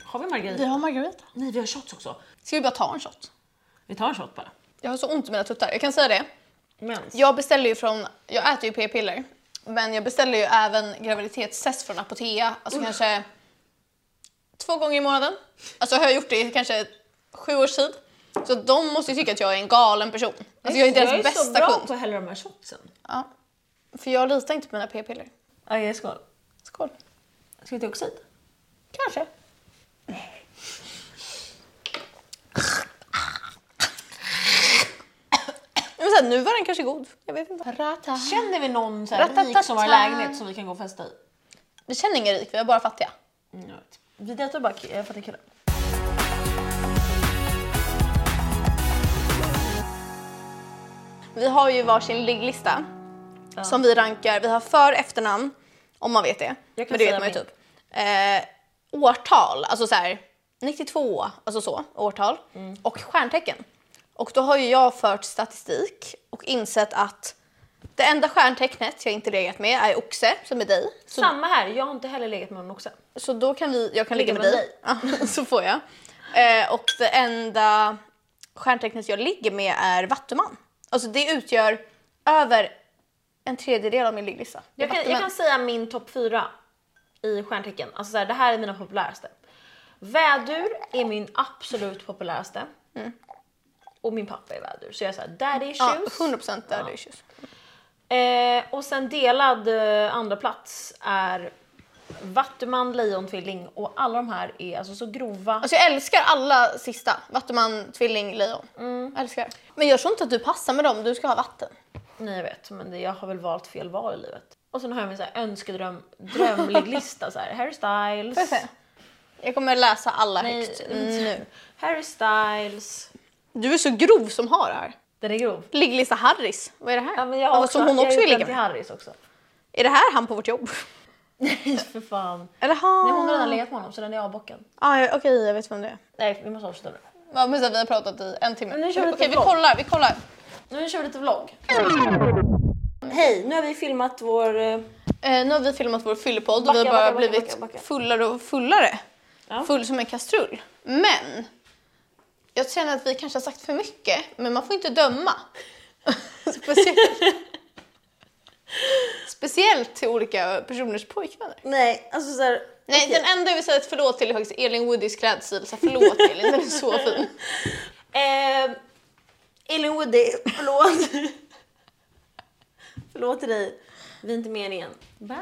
Speaker 2: Har vi margarita?
Speaker 1: Vi har Margarita.
Speaker 2: Nej, vi har shots också.
Speaker 1: Ska vi bara ta en shot?
Speaker 2: Vi tar en shot bara.
Speaker 1: Jag har så ont i mina tuttar. Jag kan säga det.
Speaker 2: Mens.
Speaker 1: Jag alltså, beställer ju från... Jag äter ju p-piller. Men jag beställer ju även graviditetstest från Apotea. Alltså kanske två gånger i månaden. Alltså har jag gjort det i kanske sju års tid. Så de måste ju tycka att jag är en galen person. Alltså jag är deras
Speaker 2: så
Speaker 1: bästa
Speaker 2: bra
Speaker 1: kund.
Speaker 2: på att hälla de här shotsen.
Speaker 1: Ja. För jag litar inte på mina p-piller.
Speaker 2: Okej, skål.
Speaker 1: Skål.
Speaker 2: Ska vi ta oxid?
Speaker 1: Kanske. Men så här, nu var den kanske god. Jag vet inte. Rata.
Speaker 2: Känner vi någon så här rik som har en lägenhet som vi kan gå och festa i?
Speaker 1: Vi känner ingen rik, vi är bara fattiga.
Speaker 2: Mm, jag vet. Vi dejtar bara ki- eh, fattiga killar.
Speaker 1: Vi har ju varsin ligglista som vi rankar. Vi har för efternamn, om man vet det.
Speaker 2: Jag
Speaker 1: Men det
Speaker 2: kan
Speaker 1: vet
Speaker 2: säga
Speaker 1: man ju
Speaker 2: min.
Speaker 1: typ. Eh, årtal, alltså så här 92, alltså så, årtal.
Speaker 2: Mm.
Speaker 1: Och stjärntecken. Och då har ju jag fört statistik och insett att det enda stjärntecknet jag inte legat med är oxe, som är dig. Så
Speaker 2: Samma här, jag har inte heller legat med någon också.
Speaker 1: så då kan vi, jag kan ligga
Speaker 2: Ligga
Speaker 1: med
Speaker 2: med
Speaker 1: dig. Ja, så får jag. Eh, och det enda stjärntecknet jag ligger med är vattuman. Alltså det utgör över en tredjedel av min ligglista. Det är
Speaker 2: Jag kan, jag
Speaker 1: vattuman.
Speaker 2: kan säga min topp fyra i stjärntecken. Alltså så här, det här är mina populäraste. Vädur är min absolut populäraste. Och min pappa är vädur. Så jag är såhär, daddy
Speaker 1: Ja,
Speaker 2: issues.
Speaker 1: 100% där det är tjus.
Speaker 2: Eh, och sen delad eh, andra plats är Vattuman, Lejontvilling och alla de här är alltså så grova.
Speaker 1: Alltså jag älskar alla sista. Vattuman, tvilling, lejon.
Speaker 2: Mm.
Speaker 1: Jag älskar. Men jag tror inte att du passar med dem, du ska ha vatten.
Speaker 2: Nej jag vet, men det, jag har väl valt fel val i livet. Och sen har jag min så här önskedröm, drömligglista så här. Harry
Speaker 1: Får jag
Speaker 2: Styles.
Speaker 1: se? Jag kommer läsa alla
Speaker 2: Nej,
Speaker 1: högt
Speaker 2: inte.
Speaker 1: nu.
Speaker 2: Harry Styles.
Speaker 1: Du är så grov som har det här.
Speaker 2: Den är grov.
Speaker 1: Ligglista Harris, vad är det här?
Speaker 2: Ja, men jag har
Speaker 1: Vad
Speaker 2: också,
Speaker 1: som hon
Speaker 2: jag har
Speaker 1: också
Speaker 2: gjort
Speaker 1: vill
Speaker 2: den
Speaker 1: ligga
Speaker 2: till
Speaker 1: med.
Speaker 2: Harrys också.
Speaker 1: Är det här han på vårt jobb?
Speaker 2: Nej för fan.
Speaker 1: Eller han?
Speaker 2: Nej, hon har redan legat med honom så den är avbockad.
Speaker 1: Ah, ja, okej, jag vet vem det är.
Speaker 2: Nej vi måste avsluta nu.
Speaker 1: Ja, men så här, vi har pratat i en timme.
Speaker 2: Men nu kör vi
Speaker 1: Okej,
Speaker 2: lite
Speaker 1: vi
Speaker 2: vlogg.
Speaker 1: kollar, vi kollar.
Speaker 2: Nu kör vi lite vlogg. Hej, nu har vi filmat vår... eh,
Speaker 1: Eh, nu har vi filmat vår fyllepodd och
Speaker 2: Backa,
Speaker 1: vi har bara
Speaker 2: backa, backa,
Speaker 1: blivit
Speaker 2: backa, backa.
Speaker 1: fullare och fullare.
Speaker 2: Ja.
Speaker 1: Full som en kastrull. Men jag känner att vi kanske har sagt för mycket, men man får inte döma. Speciellt, Speciellt till olika personers pojkvänner.
Speaker 2: Nej, alltså såhär...
Speaker 1: Nej, den enda jag vill säga ett förlåt till är faktiskt Elin Woodys klädstil. Så här, förlåt Elin, den är så fin.
Speaker 2: Eh, Elin Woody, förlåt. förlåt till dig. Vi är inte meningen. Bye!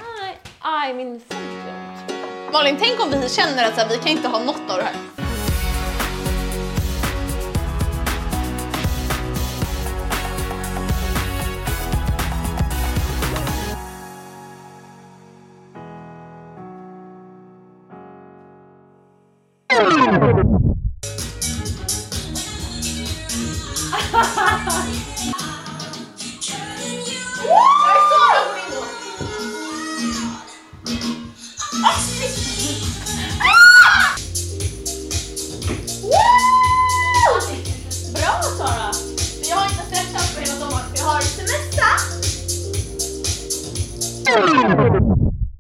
Speaker 2: Aj, min fot.
Speaker 1: Malin, tänk om vi känner att så här, vi kan inte ha något av det här. Bra Sara! Jag har inte stressat på hela sommaren, jag har semester!